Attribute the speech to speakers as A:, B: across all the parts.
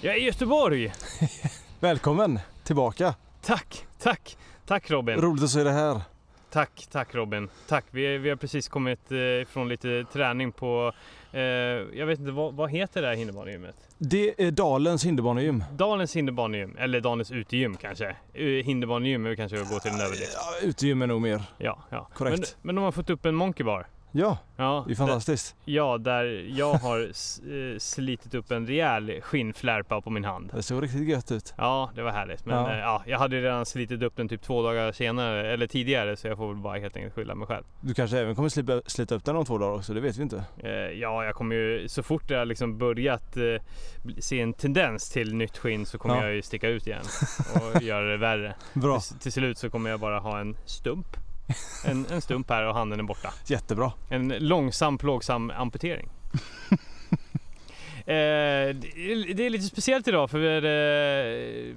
A: Jag är i Göteborg!
B: Välkommen tillbaka.
A: Tack, tack, tack Robin.
B: Roligt att se dig här.
A: Tack, tack Robin. Tack. Vi, vi har precis kommit eh, från lite träning på, eh, jag vet inte, vad, vad heter det här hinderbanegymmet?
B: Det är Dalens hinderbanegym.
A: Dalens hinderbanegym, eller Dalens utegym kanske. Eh, Hinderbanegym är väl kanske att gå till en överdrift.
B: Ja, utegym är nog mer.
A: Ja, ja.
B: Korrekt.
A: Men, men de har fått upp en monkey bar.
B: Ja,
A: Ja,
B: det är fantastiskt.
A: där- ja, där jag har s- eh, slitit upp en rejäl skinnflärpa på min hand.
B: Det såg riktigt gött ut.
A: Ja, det var härligt. Men
B: Ja.
A: ja. Ja, jag hade ju redan slitit upp den typ två dagar senare, eller tidigare, så jag får väl bara helt enkelt skylla mig själv.
B: Du kanske även kommer slippa, slita upp den om två dagar också, det vet vi inte.
A: Eh, ja, jag kommer ju, så fort jag liksom börjat eh, bli- se en tendens till nytt skinn så kommer
B: Ja.
A: jag ju sticka ut igen och göra det värre.
B: Bra,
A: Till, till slut så kommer jag bara ha en stump. En, en stump här och handen är borta.
B: jättebra.
A: En långsam plågsam amputering. Eh, det är- det är lite speciellt idag för eh,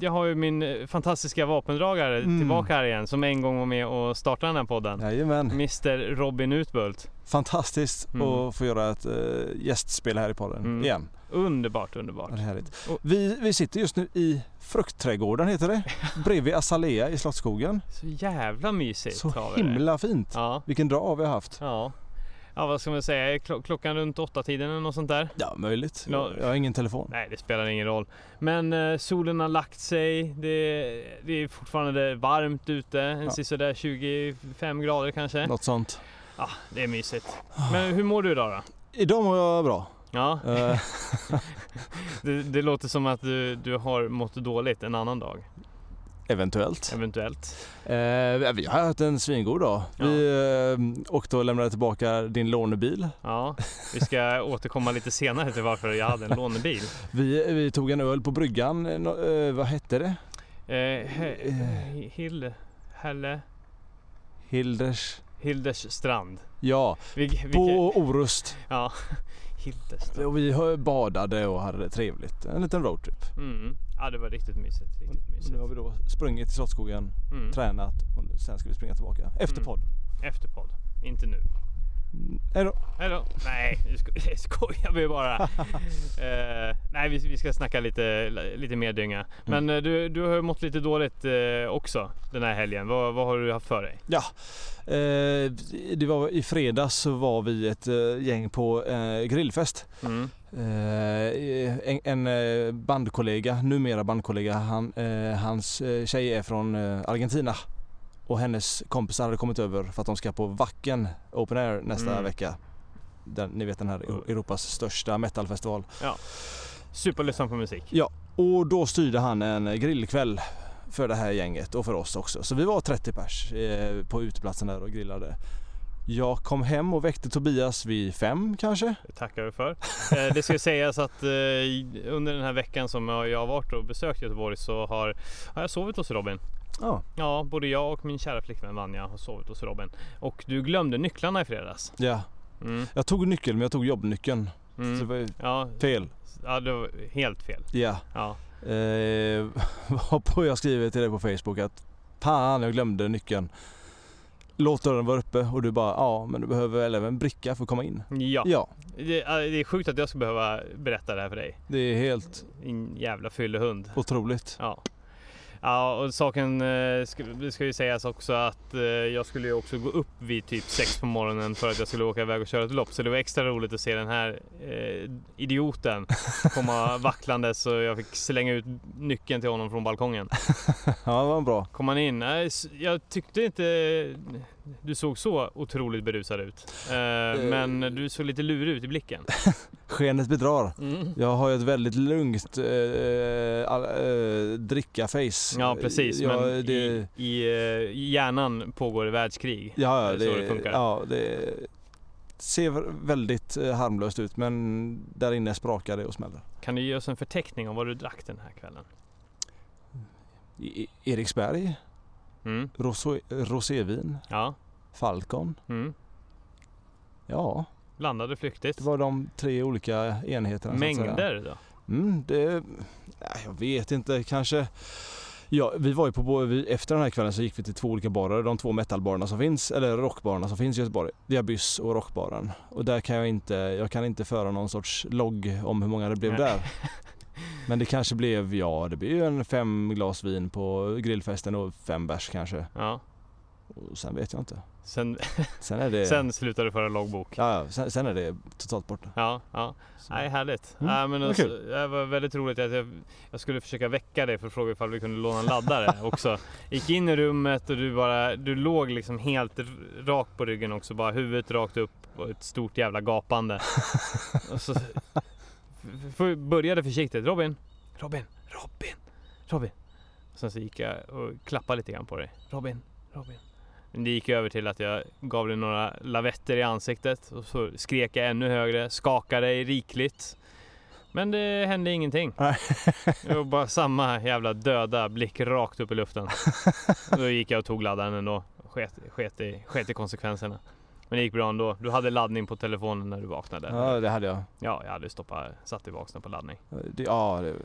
A: jag har ju min fantastiska vapendragare
B: Mm.
A: tillbaka här igen som en gång var med och startade den här podden.
B: Jajamän.
A: Mr Robin Utbult.
B: Fantastiskt
A: Mm.
B: att få göra ett eh, gästspel här i podden
A: Mm.
B: igen.
A: Underbart, underbart.
B: Ja, Det är härligt.
A: Och-
B: Vi, vi sitter just nu i fruktträdgården heter det. Bredvid Azalea i Slottsskogen.
A: Så jävla mysigt
B: Så
A: har vi det.
B: himla fint.
A: Ja,
B: Vilken dag vi har haft.
A: ja. Ja vad ska man säga, Är klo- klockan runt åtta tiden eller något sånt där?
B: Ja, möjligt.
A: Ja.
B: Jag har ingen telefon.
A: Nej det spelar ingen roll. Men eh, solen har lagt sig, det, det är fortfarande varmt ute, en
B: Ja.
A: sisådär 25 grader kanske.
B: Något sånt.
A: Ja, det är mysigt.
B: Ah.
A: Men hur mår du idag då?
B: Idag mår jag bra.
A: Ja,
B: Eh,
A: det, det låter som att du, du har mått dåligt en annan dag,
B: eventuellt.
A: eventuellt.
B: Eh, vi har haft en svingod dag.
A: Ja.
B: Vi eh, åkte och lämnade tillbaka din lånebil.
A: Ja, vi ska återkomma lite senare till varför jag hade en lånebil.
B: Vi, vi tog en öl på bryggan. Eh, nå- eh, vad hette det?
A: Eh, he, hill, Helle,
B: Hilders.
A: Hilders strand.
B: Ja,
A: Vi, vi,
B: på Orust.
A: Ja, Hildestorp.
B: Och vi hö- badade och hade det trevligt. En liten roadtrip.
A: Mm. Ja, det var riktigt mysigt. Riktigt mysigt.
B: Nu har vi då sprungit i Slottsskogen,
A: Mm.
B: tränat och sen ska vi springa tillbaka. Efter
A: Mm.
B: podd.
A: Efterpodd. Inte nu.
B: Hej då.
A: Hej då. Nej, nu sko- jag skojar vi bara. Eh, nej, vi, vi ska snacka lite, lite mer dynga. Men eh, du, du har ju mått lite dåligt eh, också den här helgen. Vad, vad har du haft för dig?
B: Ja, eh, det var i fredags så var vi ett eh, gäng på eh, grillfest.
A: Mm.
B: Eh, en, en eh, bandkollega, numera bandkollega, han, eh, hans eh, tjej är från eh, Argentina. Och hennes kompisar hade kommit över för att de ska på Wacken Open Air nästa
A: Mm.
B: vecka. Den, ni vet den här Eu- Europas största metalfestival.
A: Superlyssna på musik.
B: Och då styrde han en grillkväll för det här gänget och för oss också. Så vi var 30 pers eh, på uteplatsen där och grillade. Jag kom hem och väckte Tobias vid fem kanske.
A: Det tackar vi för. Eh, Det ska sägas att eh, i- under den här veckan som jag jag har varit och besökt Göteborg så har, har jag sovit hos Robin.
B: Ja,
A: Ja, både jag och min kära flickvän Vanja har sovit hos Robin. Och du glömde nycklarna i fredags.
B: ja.
A: Mm.
B: Jag tog nyckeln men jag tog jobbnyckeln. Så det
A: Mm.
B: var ju
A: Ja,
B: fel.
A: ja, det var helt fel.
B: Ja.
A: Ja.
B: Eh, varpå jag skriver till dig på Facebook att fan jag glömde nyckeln. Låt dörren vara öppen och du bara ja men du behöver väl även bricka för att komma in.
A: Ja,
B: Ja,
A: det ja, det är sjukt att jag ska behöva berätta det här för dig.
B: det är helt
A: Din jävla fyllehund.
B: otroligt.
A: Ja. Ja, och saken eh, ska, det ska ju sägas också att eh, jag skulle ju också gå upp vid typ sex på morgonen för att jag skulle åka iväg och köra ett lopp. Så det var extra roligt att se den här eh, idioten komma vacklandes så jag fick slänga ut nyckeln till honom från balkongen.
B: Ja, det var bra.
A: Kom han in? Nej, s- jag tyckte inte du såg så otroligt berusad ut. Eh, men du såg lite lurig ut i blicken.
B: Skenet bedrar. Jag har ju ett väldigt lugnt eh, all, eh, dricka-face.
A: Ja precis,
B: Ja,
A: men
B: det,
A: i, i, eh, i hjärnan pågår det världskrig.
B: ja, ja,
A: det är så det
B: det,
A: funkar.
B: ja, det ser väldigt eh, harmlöst ut men där inne sprakar det och smäller.
A: Kan du ge oss en förteckning om vad du drack den här kvällen?
B: I, I- Eriksberg,
A: Mm.
B: Roso, eh, rosévin,
A: Ja.
B: Falcon.
A: Mm.
B: Ja,
A: Blandade flyktigt.
B: det var de tre olika enheterna. så att säga.
A: Mängder då?
B: Mm, det, nej, jag vet inte, kanske. Ja, vi var ju på, bo- vi, efter den här kvällen så gick vi till två olika barer, de två metalbarerna som finns, eller rockbarerna som finns i Göteborg. Det är Abyss och Rockbaren. Och där kan jag inte, jag kan inte föra någon sorts logg om hur många det blev
A: Nej.
B: där. Men det kanske blev, ja det blev ju en fem glas vin på grillfesten och fem bärs kanske.
A: Ja.
B: Och sen vet jag inte.
A: Sen,
B: Sen är det,
A: sen slutade du föra loggbok.
B: Eh. ja, ja, sen, sen är det totalt borta.
A: Ja, ja.
B: Så-
A: Nej, härligt.
B: Mm,
A: Ja, men
B: vad
A: alltså,
B: kul.
A: det var väldigt roligt att jag, jag skulle försöka väcka dig för att fråga ifall vi kunde låna en laddare också. Gick in i rummet och du bara, du låg liksom helt r- rak på ryggen också, bara huvudet rakt upp och ett stort jävla gapande. och så f- f- började försiktigt, Robin, Robin, Robin, Robin. Och sen så gick jag och klappade lite grann på dig, Robin, Robin. Men det gick över till att jag gav dig några lavetter i ansiktet och så skrek jag ännu högre, skakade dig rikligt. Men det hände ingenting.
B: Nej.
A: Det var bara samma jävla döda blick rakt upp i luften. Då gick jag och tog laddaren ändå. Sket, sket, i, sket i konsekvenserna. Men det gick bra ändå. Du hade laddning på telefonen när du vaknade.
B: Ja det hade jag.
A: Ja, jag hade stoppat, satt i vaksen på laddning.
B: Det, ja, det är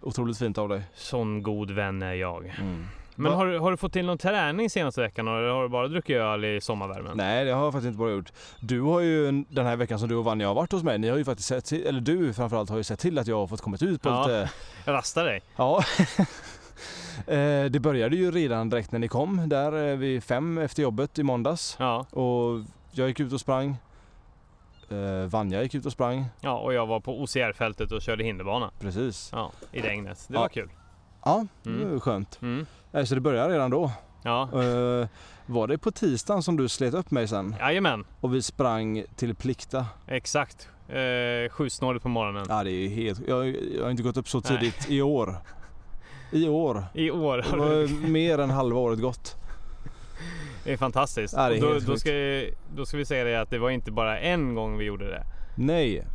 B: otroligt fint av dig.
A: Sån god vän är jag.
B: Mm.
A: Men
B: Va-
A: har, du- har du fått till någon träning senaste veckan eller har du bara druckit öl i sommarvärmen?
B: Nej, det har jag faktiskt inte bara gjort. Du har ju den här veckan som du och Vanja har varit hos mig, ni har ju faktiskt sett till, eller du framförallt har ju sett till att jag har fått kommit ut på
A: Ja.
B: lite...
A: Jag rastar dig.
B: Ja. Eh, det började ju redan direkt när ni kom där eh, vid fem efter jobbet i måndags.
A: Ja.
B: Och jag gick ut och sprang. Eh, Vanja gick ut och sprang.
A: ja, och jag var på OCR-fältet och körde hinderbana.
B: Precis.
A: Ja, i regnet. Det
B: Ja.
A: var kul.
B: Ja, det
A: Mm.
B: var ju skönt.
A: Mm.
B: Eh, Så det började redan då.
A: Ja.
B: Eh, var det på tisdagen som du slet upp mig sen?
A: Jajamän,
B: Och vi sprang till Plikta.
A: exakt. Eh, Sjusnålet på morgonen.
B: Ja, det är ju helt... Jag, jag har inte gått upp så
A: Nej.
B: tidigt i år. I år.
A: I år
B: Det
A: har du...
B: var mer än halva året gått.
A: Det är fantastiskt.
B: Ja, det är
A: Och då,
B: helt
A: då,
B: sjukt.
A: ska, jag- då ska vi säga det att det var inte bara en gång vi gjorde det.
B: Nej.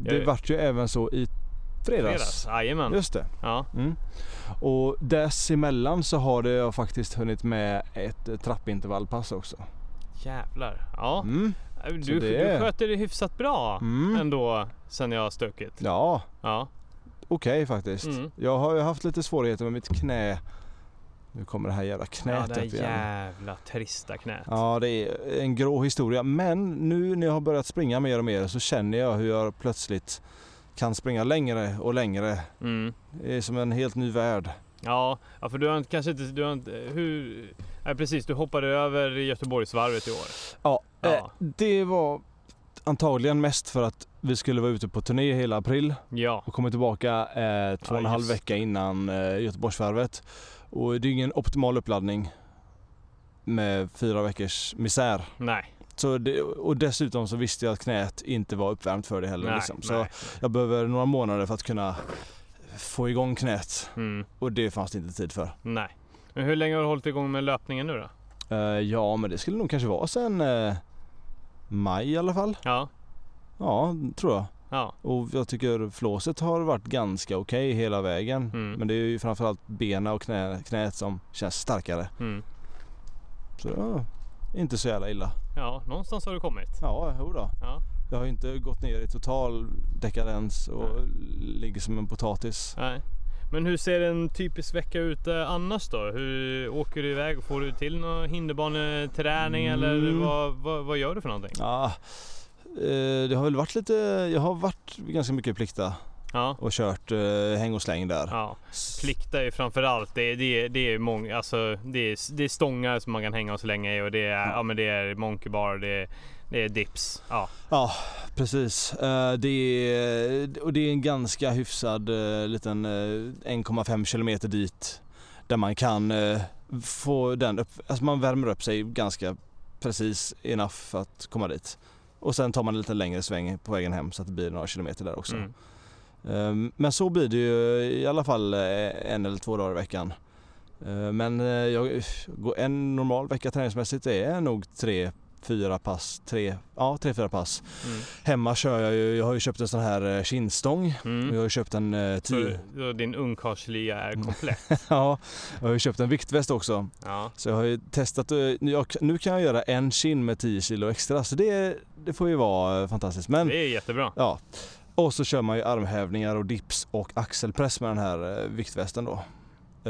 B: Det
A: Jag-
B: vart ju även så i fredags.
A: Fredags. Jajamän.
B: Just det.
A: Ja.
B: Mm. Och dessemellan så har det jag faktiskt hunnit med ett trappintervallpass också.
A: Jävlar. Ja.
B: Mm. Så
A: Du,
B: det-
A: du sköter det hyfsat bra
B: Mm.
A: ändå sen jag har stuckit.
B: Ja,
A: Ja.
B: okej faktiskt.
A: Mm.
B: Jag har ju haft lite svårigheter med mitt knä. Nu kommer det här jävla
A: ja,
B: knät
A: det
B: upp igen.
A: jävla trista knät.
B: Ja, det är en grå historia. Men nu när jag har börjat springa mer och mer så känner jag hur jag plötsligt kan springa längre och längre.
A: Mm.
B: Det är som en helt ny värld.
A: Ja, ja, för du har inte, kanske inte... Du har inte hur, nej, precis, du hoppade över Göteborgsvarvet i år.
B: Ja,
A: Ja.
B: eh, det var antagligen mest för att vi skulle vara ute på turné hela april
A: Ja,
B: och komma tillbaka eh, två och en
A: Ja,
B: halv
A: just.
B: vecka innan eh, Göteborgsvarvet. Och det är ingen optimal uppladdning med fyra veckors misär.
A: nej.
B: Så det, och dessutom så visste jag att knät inte var uppvärmt för det heller.
A: nej,
B: liksom. Så
A: nej.
B: Jag behöver några månader för att kunna få igång knät
A: Mm,
B: och det fanns det inte tid för.
A: nej. Men hur länge har du hållit igång med löpningen nu då?
B: Eh, ja, men det skulle nog kanske vara sen eh, maj i alla fall.
A: Ja,
B: Ja, tror jag.
A: ja,
B: Och jag tycker flåset har varit ganska okej hela vägen.
A: Mm.
B: Men det är ju framförallt bena och knä, knät som känns starkare.
A: mm.
B: Så ja, inte så jävla illa.
A: ja, någonstans har du kommit.
B: Ja, jo då.
A: Ja.
B: Jag har ju inte gått ner i total dekadens och
A: Nej.
B: ligger som en potatis.
A: Nej. Men hur ser en typisk vecka ut eh, annars då? Hur åker du iväg? Får du till någon hinderbaneträning eller
B: Mm.
A: vad, vad, vad gör du för någonting?
B: Ja, eh, det har väl varit lite, jag har varit ganska mycket i plikta.
A: Ja,
B: och kört eh, häng och släng där.
A: ja. plikta är ju framförallt, det, är- det, är- det är många, alltså det är, det är stångar som man kan hänga och slänga i och det
B: Mm.
A: är, ja men det är monkey bar, det är, det är dips. Ja,
B: Ja, precis. Eh, det, är, och det är en ganska hyfsad eh, liten eh, 1,5 kilometer dit där man kan eh, få den upp, alltså man värmer upp sig ganska precis enough för att komma dit. Och sen tar man en lite längre sväng på vägen hem så att det blir några kilometer där också.
A: mm.
B: Eh, Men så blir det ju i alla fall eh, en eller två dagar i veckan. Eh, Men eh, jag, går- en normal vecka träningsmässigt är nog tre, fyra pass. Tre, ja, tre, fyra pass.
A: Mm.
B: Hemma kör jag ju, jag har ju köpt en sån här eh, kindstång. Och jag
A: Mm.
B: har ju köpt en eh,
A: Så,
B: tio, Mm.
A: så din ungkarlslya är komplett.
B: ja, jag har ju köpt en viktväst också.
A: Ja.
B: Så jag har ju testat, eh, nu- jag, nu kan jag göra en kin med 10 kilo extra. Så det, det får ju vara eh, fantastiskt. Men
A: Det är jättebra.
B: Ja. Och så kör man ju armhävningar och dips och axelpress med den här eh, viktvästen då.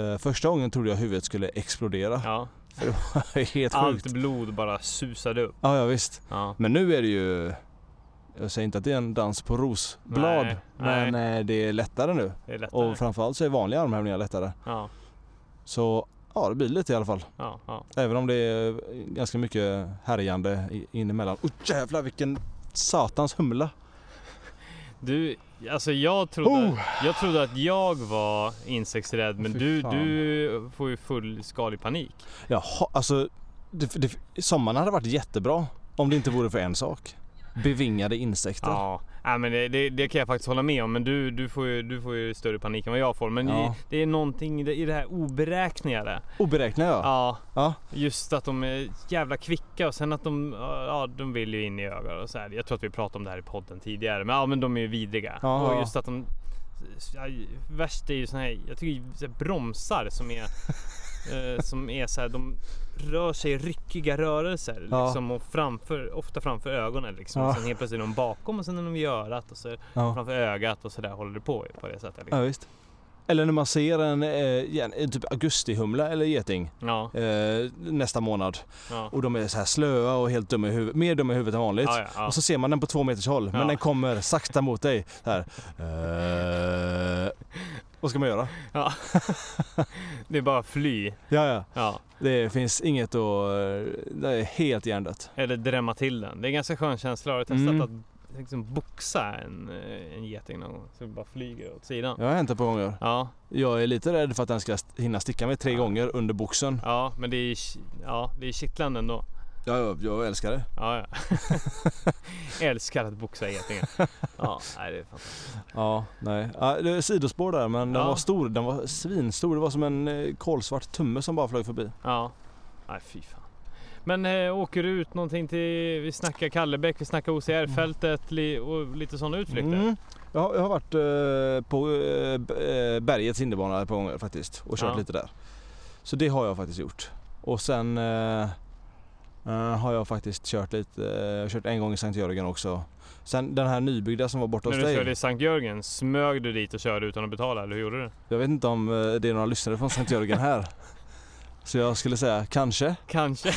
B: Eh, Första gången trodde jag huvudet skulle explodera.
A: Ja.
B: För det var helt Ah, sjukt.
A: Allt blod bara susade upp.
B: Ja, ja visst.
A: Ja.
B: Men nu är det ju Jag säger inte att det är en dans på rosblad.
A: Nej,
B: men eh, det är lättare nu.
A: Det är lättare.
B: Och framförallt så är vanliga armhävningar lättare.
A: Ja,
B: Så ja, det blir lite i alla fall.
A: ja, ja.
B: Även om det är ganska mycket härjande i- in emellan. Oh, jävlar vilken satans humla.
A: Du, alltså jag trodde,
B: Oh!
A: jag trodde att jag var insektsrädd men
B: Fy
A: du,
B: fan.
A: du får ju fullskalig panik.
B: Jaha, alltså. Det, det, sommaren hade varit jättebra om det inte vore för en sak. Bevingade insekter.
A: Ja, nej, men det, det, det kan jag faktiskt hålla med om. Men du, du, får ju, du får ju större panik än vad jag får. Men
B: Ja.
A: i- det är någonting i det- i det här oberäkneliga.
B: Oberäkneliga ja.
A: Ja,
B: ja.
A: just att de är jävla kvicka och sen att de, ja de vill ju in i ögat och så här. Jag tror att vi pratade om det här i podden tidigare. Men ja, men de är ju vidriga.
B: Ja.
A: Och just att de, ja, värst är ju såna här, jag tycker så här bromsar som är Eh, som är så här, de rör sig i ryckiga rörelser
B: Ja.
A: liksom, och framför, ofta framför ögonen liksom.
B: Ja.
A: Sen helt plötsligt är de bakom och sen är de vid örat och så
B: ja.
A: framför ögat och sådär håller det på på det sättet.
B: ja
A: Liksom.
B: visst. Eller när man ser en, eh, gen- en typ augustihumla eller geting
A: Ja,
B: eh, nästa månad.
A: ja,
B: Och de är så här slöa och helt dumma i huvudet. Mer dumma i huvudet än vanligt.
A: ja, ja, ja.
B: Och så ser man den på två meters håll, men
A: Ja.
B: den kommer sakta mot dig. Så här. Eh, vad ska man göra?
A: Det är bara fly.
B: Ja, ja.
A: Ja.
B: Det finns inget att... eh, Det är helt hjärndött.
A: Eller drämma till den. Det är en ganska skön känsla. Har du testat
B: Mm.
A: att liksom boxa en, eh, en geting någon gång? Så det bara flyger åt sidan.
B: Jag har hänt det på gånger.
A: Ja,
B: Jag är lite rädd för att den ska st- hinna sticka mig tre
A: Ja.
B: gånger under boxen.
A: ja men det är, ki- ja, det är kittlande ändå.
B: Ja, jag, jag älskar det.
A: Ja, ja. Älskar att boxa getingar. Ja, nej, det är fantastiskt.
B: Ja, nej. Ja, det är sidospår där, men den
A: Ja.
B: var stor. Den var svinstor. Det var som en eh, kolsvart tumme som bara flög förbi.
A: Ja, nej fy fan. Men eh, åker du ut någonting till, vi snackar Kallebäck, vi snackar OCR-fältet li, och lite sådana utflykter?
B: Mm. Jag, har, jag har varit eh, på eh, b- eh, bergets hinderbana ett par gånger faktiskt och kört
A: Ja.
B: lite där. Så det har jag faktiskt gjort. Och sen eh, eh, har jag faktiskt kört lite, eh, jag har kört en gång i Sankt Jörgen också. Sen den här nybyggda som var borta hos
A: När du körde i
B: dig.
A: Sankt Jörgen, smög du dit och körde utan att betala eller hur gjorde du?
B: Jag vet inte om eh, det är några lyssnare från Sankt Jörgen här. Så jag skulle säga kanske.
A: Kanske.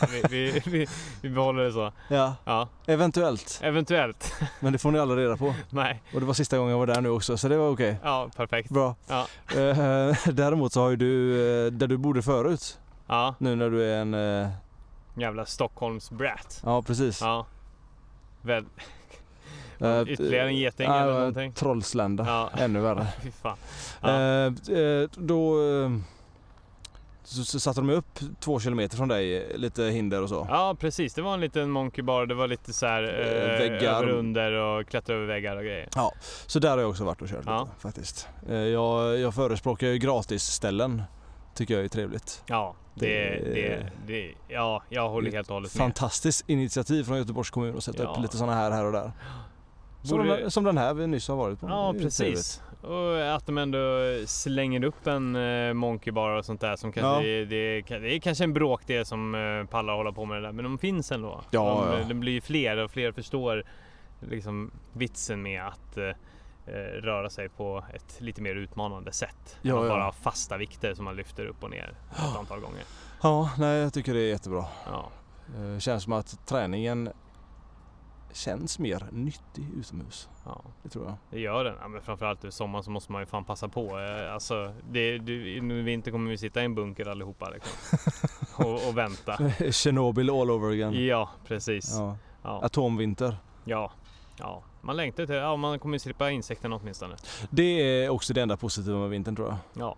A: Ja, vi, vi, vi, vi behåller det så.
B: Ja,
A: Ja,
B: eventuellt.
A: eventuellt.
B: Men det får ni alla reda på.
A: Nej,
B: Och det var sista gången jag var där nu också så det var okej.
A: ja perfekt.
B: Bra.
A: Ja.
B: Eh, däremot så har ju du, eh, där du bodde förut,
A: Ja,
B: Nu när du är en... eh,
A: jävla Stockholms-brat.
B: Ja, precis.
A: Ja. Väl,
B: Eh,
A: ytterligare en geting
B: ja,
A: eller
B: eh,
A: någonting.
B: Trollslända.
A: Ja,
B: Ännu värre.
A: fy fan.
B: Eh, eh, då eh, så, så satte de upp två kilometer från dig, eh, lite hinder och så.
A: Ja precis, det var en liten monkey bar. Det var lite så här
B: Eh,
A: eh,
B: väggar.
A: över och under och klättra över väggar och grejer.
B: Så där har jag också varit och kört
A: Ja.
B: lite, faktiskt. Eh, jag, jag förespråkar ju gratisställen. Tycker jag är trevligt.
A: Ja, det,
B: Det-
A: det, det, ja jag håller helt och hållet med.
B: Fantastiskt initiativ från Göteborgs kommun att sätta
A: Ja.
B: upp lite sådana här här och där. Som,
A: Borde-
B: den, som den här vi nyss har varit på.
A: Ja
B: Det är ju trevligt.
A: precis. Och att de ändå slänger upp en eh, monkey bar och sånt där. Som kanske,
B: Ja.
A: det, det, kan- det är kanske en bråkdel som eh, pallar hålla på med det där. Men de finns ändå.
B: Ja,
A: de,
B: ja.
A: de blir ju fler och fler förstår liksom vitsen med att eh, eh, röra sig på ett lite mer utmanande sätt.
B: Ja,
A: man
B: ja.
A: bara har fasta vikter som man lyfter upp och ner ett antal gånger.
B: Ja, nej jag tycker det är jättebra.
A: Ja.
B: Eh, Känns som att träningen känns mer nyttig utomhus.
A: Ja,
B: Det tror jag.
A: det gör den. Ja, men framförallt i sommar så måste man ju fan passa på. Eh, Alltså, det, du, nu i vinter kommer vi sitta i en bunker allihopa liksom. och, och vänta.
B: Tjernobyl all over again.
A: Ja, precis.
B: Ja.
A: Ja,
B: Atomvinter.
A: ja, ja. Man längtar till Ja, man kommer ju slippa insekterna åtminstone.
B: Det är också det enda positiva med vintern tror jag.
A: Ja,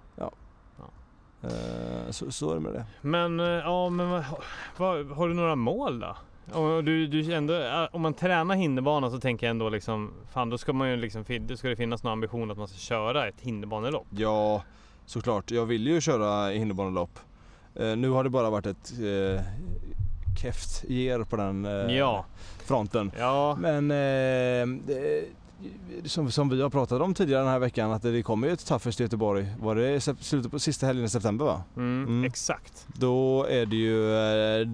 B: Eh, Så, så är det med det.
A: men eh, ja, men vad, vad, har du några mål då? Och du, du ändå, eh, om man tränar hinderbana så tänker jag ändå liksom, fan då ska man ju liksom, fin- då ska det finnas någon ambition att man ska köra ett hinderbanelopp.
B: Ja, såklart. Jag vill ju köra hinderbanelopp. Eh, Nu har det bara varit ett eh, keft ger på den eh,
A: Ja,
B: fronten.
A: ja,
B: Men eh, det- som, som vi har pratat om tidigare den här veckan att det kommer ju ett Toughest i Göteborg. Var det sep- slutet på sista helgen i september va?
A: mm,
B: Mm.
A: exakt.
B: Då är det ju, eh,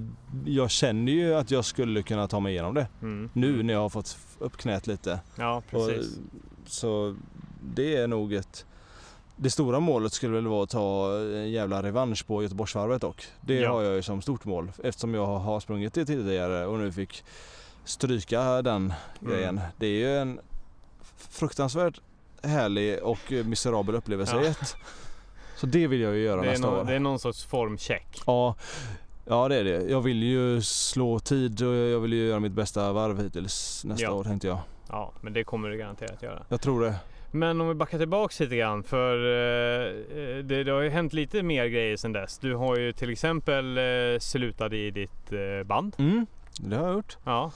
B: jag känner ju att jag skulle kunna ta mig igenom det.
A: Mm.
B: Nu när jag har fått upp knät lite.
A: Ja, precis.
B: Och, så det är nog ett, det stora målet skulle väl vara att ta en jävla revansch på Göteborgsvarvet dock. Det
A: Ja.
B: har jag ju som stort mål eftersom jag har sprungit det tidigare och nu fick stryka den
A: Mm.
B: grejen. Det är ju en fruktansvärt härlig och miserabel upplevelse
A: Ja.
B: i ett. Så det vill jag ju göra
A: Det är,
B: nästa
A: någon,
B: år.
A: det är någon sorts formcheck.
B: Ja, ja det är det. Jag vill ju slå tid och jag vill ju göra mitt bästa varv hittills nästa
A: Ja.
B: år tänkte jag.
A: Ja, men det kommer du garanterat göra.
B: Jag tror det.
A: Men om vi backar tillbaks lite grann för eh, eh, det, det har ju hänt lite mer grejer sedan dess. Du har ju till exempel eh, slutat i ditt eh, band.
B: Mm, det har jag gjort.
A: Ja.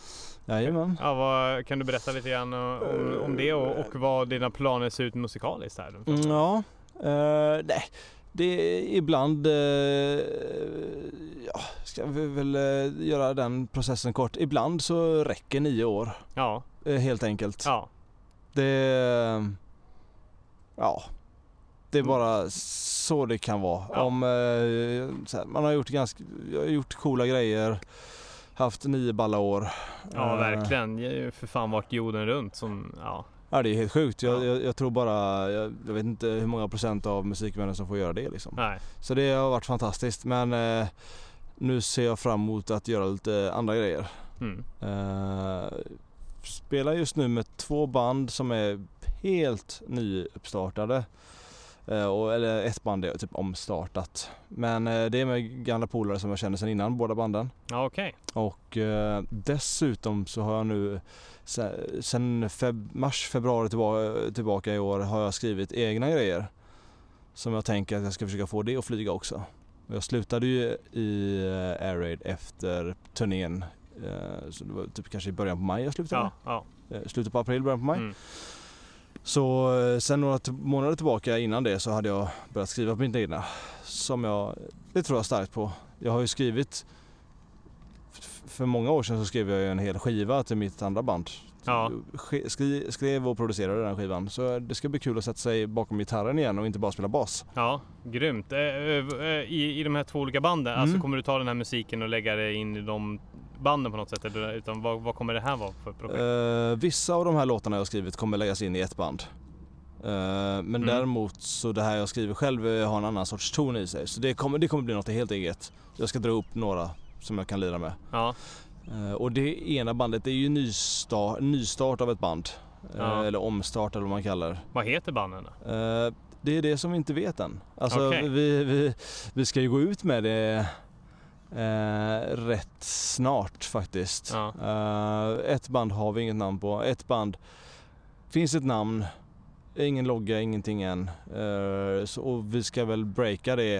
B: Jajamän.
A: Ja, vad, kan du berätta lite grann eh, om, om det och, och vad dina planer ser ut musikaliskt här?
B: Mm, Ja, eh, nej. Det är ibland, eh, ja, ska vi väl eh, göra den processen kort. Ibland så räcker nio år
A: Ja,
B: eh, helt enkelt.
A: ja,
B: Det, ja, det är bara så det kan vara.
A: Mm. Ja.
B: Om, eh, så här, man har gjort ganska, jag har gjort coola grejer, haft nio balla år.
A: ja
B: Eh,
A: verkligen. Jag har ju för fan varit jorden runt som, ja.
B: Ja, det är helt sjukt. Jag,
A: Ja.
B: jag, jag tror bara, jag, jag vet inte hur många procent av musikvänner som får göra det liksom.
A: Nej.
B: Så det har varit fantastiskt men eh, nu ser jag fram emot att göra lite andra grejer.
A: Mm.
B: Eh, spelar just nu med två band som är helt nyuppstartade. Eh, och, eller ett band är typ omstartat. Men eh, det är med gamla polare som jag känner sedan innan båda banden.
A: Ja, okej.
B: Och eh, dessutom så har jag nu se- sen feb- mars, februari tillba- tillbaka i år har jag skrivit egna grejer. Som jag tänker att jag ska försöka få det att flyga också. Jag slutade ju i eh, Air Raid efter turnén. eh, Så det var typ kanske i början på maj jag slutade.
A: Ja, ja.
B: Eh, Slutet på april, början på maj.
A: Mm.
B: Så eh, sen några t- månader tillbaka innan det så hade jag börjat skriva på mina egna. Som jag, det tror jag starkt på. Jag har ju skrivit, f- för många år sedan så skrev jag ju en hel skiva till mitt andra band.
A: Ja.
B: Sk- skri- skrev och producerade den skivan. Så det ska bli kul att sätta sig bakom gitarren igen och inte bara spela bas.
A: Ja, grymt. Eh, eh, eh, I, I de här två olika banden,
B: Mm.
A: alltså kommer du ta den här musiken och lägga det in i de banden på något sätt? Eller, utan vad, vad kommer det här vara för projekt?
B: Eh, vissa av de här låtarna jag skrivit kommer läggas in i ett band. Eh, men däremot så det här jag skriver själv eh, har en annan sorts ton i sig. Så det kommer, det kommer bli något helt eget. Jag ska dra upp några som jag kan lira med.
A: Ja,
B: Eh, Och det ena bandet det är ju nystart, nystart av ett band. Eh,
A: Ja.
B: Eller omstart eller vad man kallar det.
A: vad heter banden då?
B: Eh, Det är det som vi inte vet än. Alltså
A: Okej.
B: vi, vi, vi ska ju gå ut med det eh, rätt snart faktiskt.
A: Ja.
B: Eh, ett band har vi inget namn på. Ett band finns ett namn, ingen logga, ingenting än. Eh, så, och vi ska väl breaka det,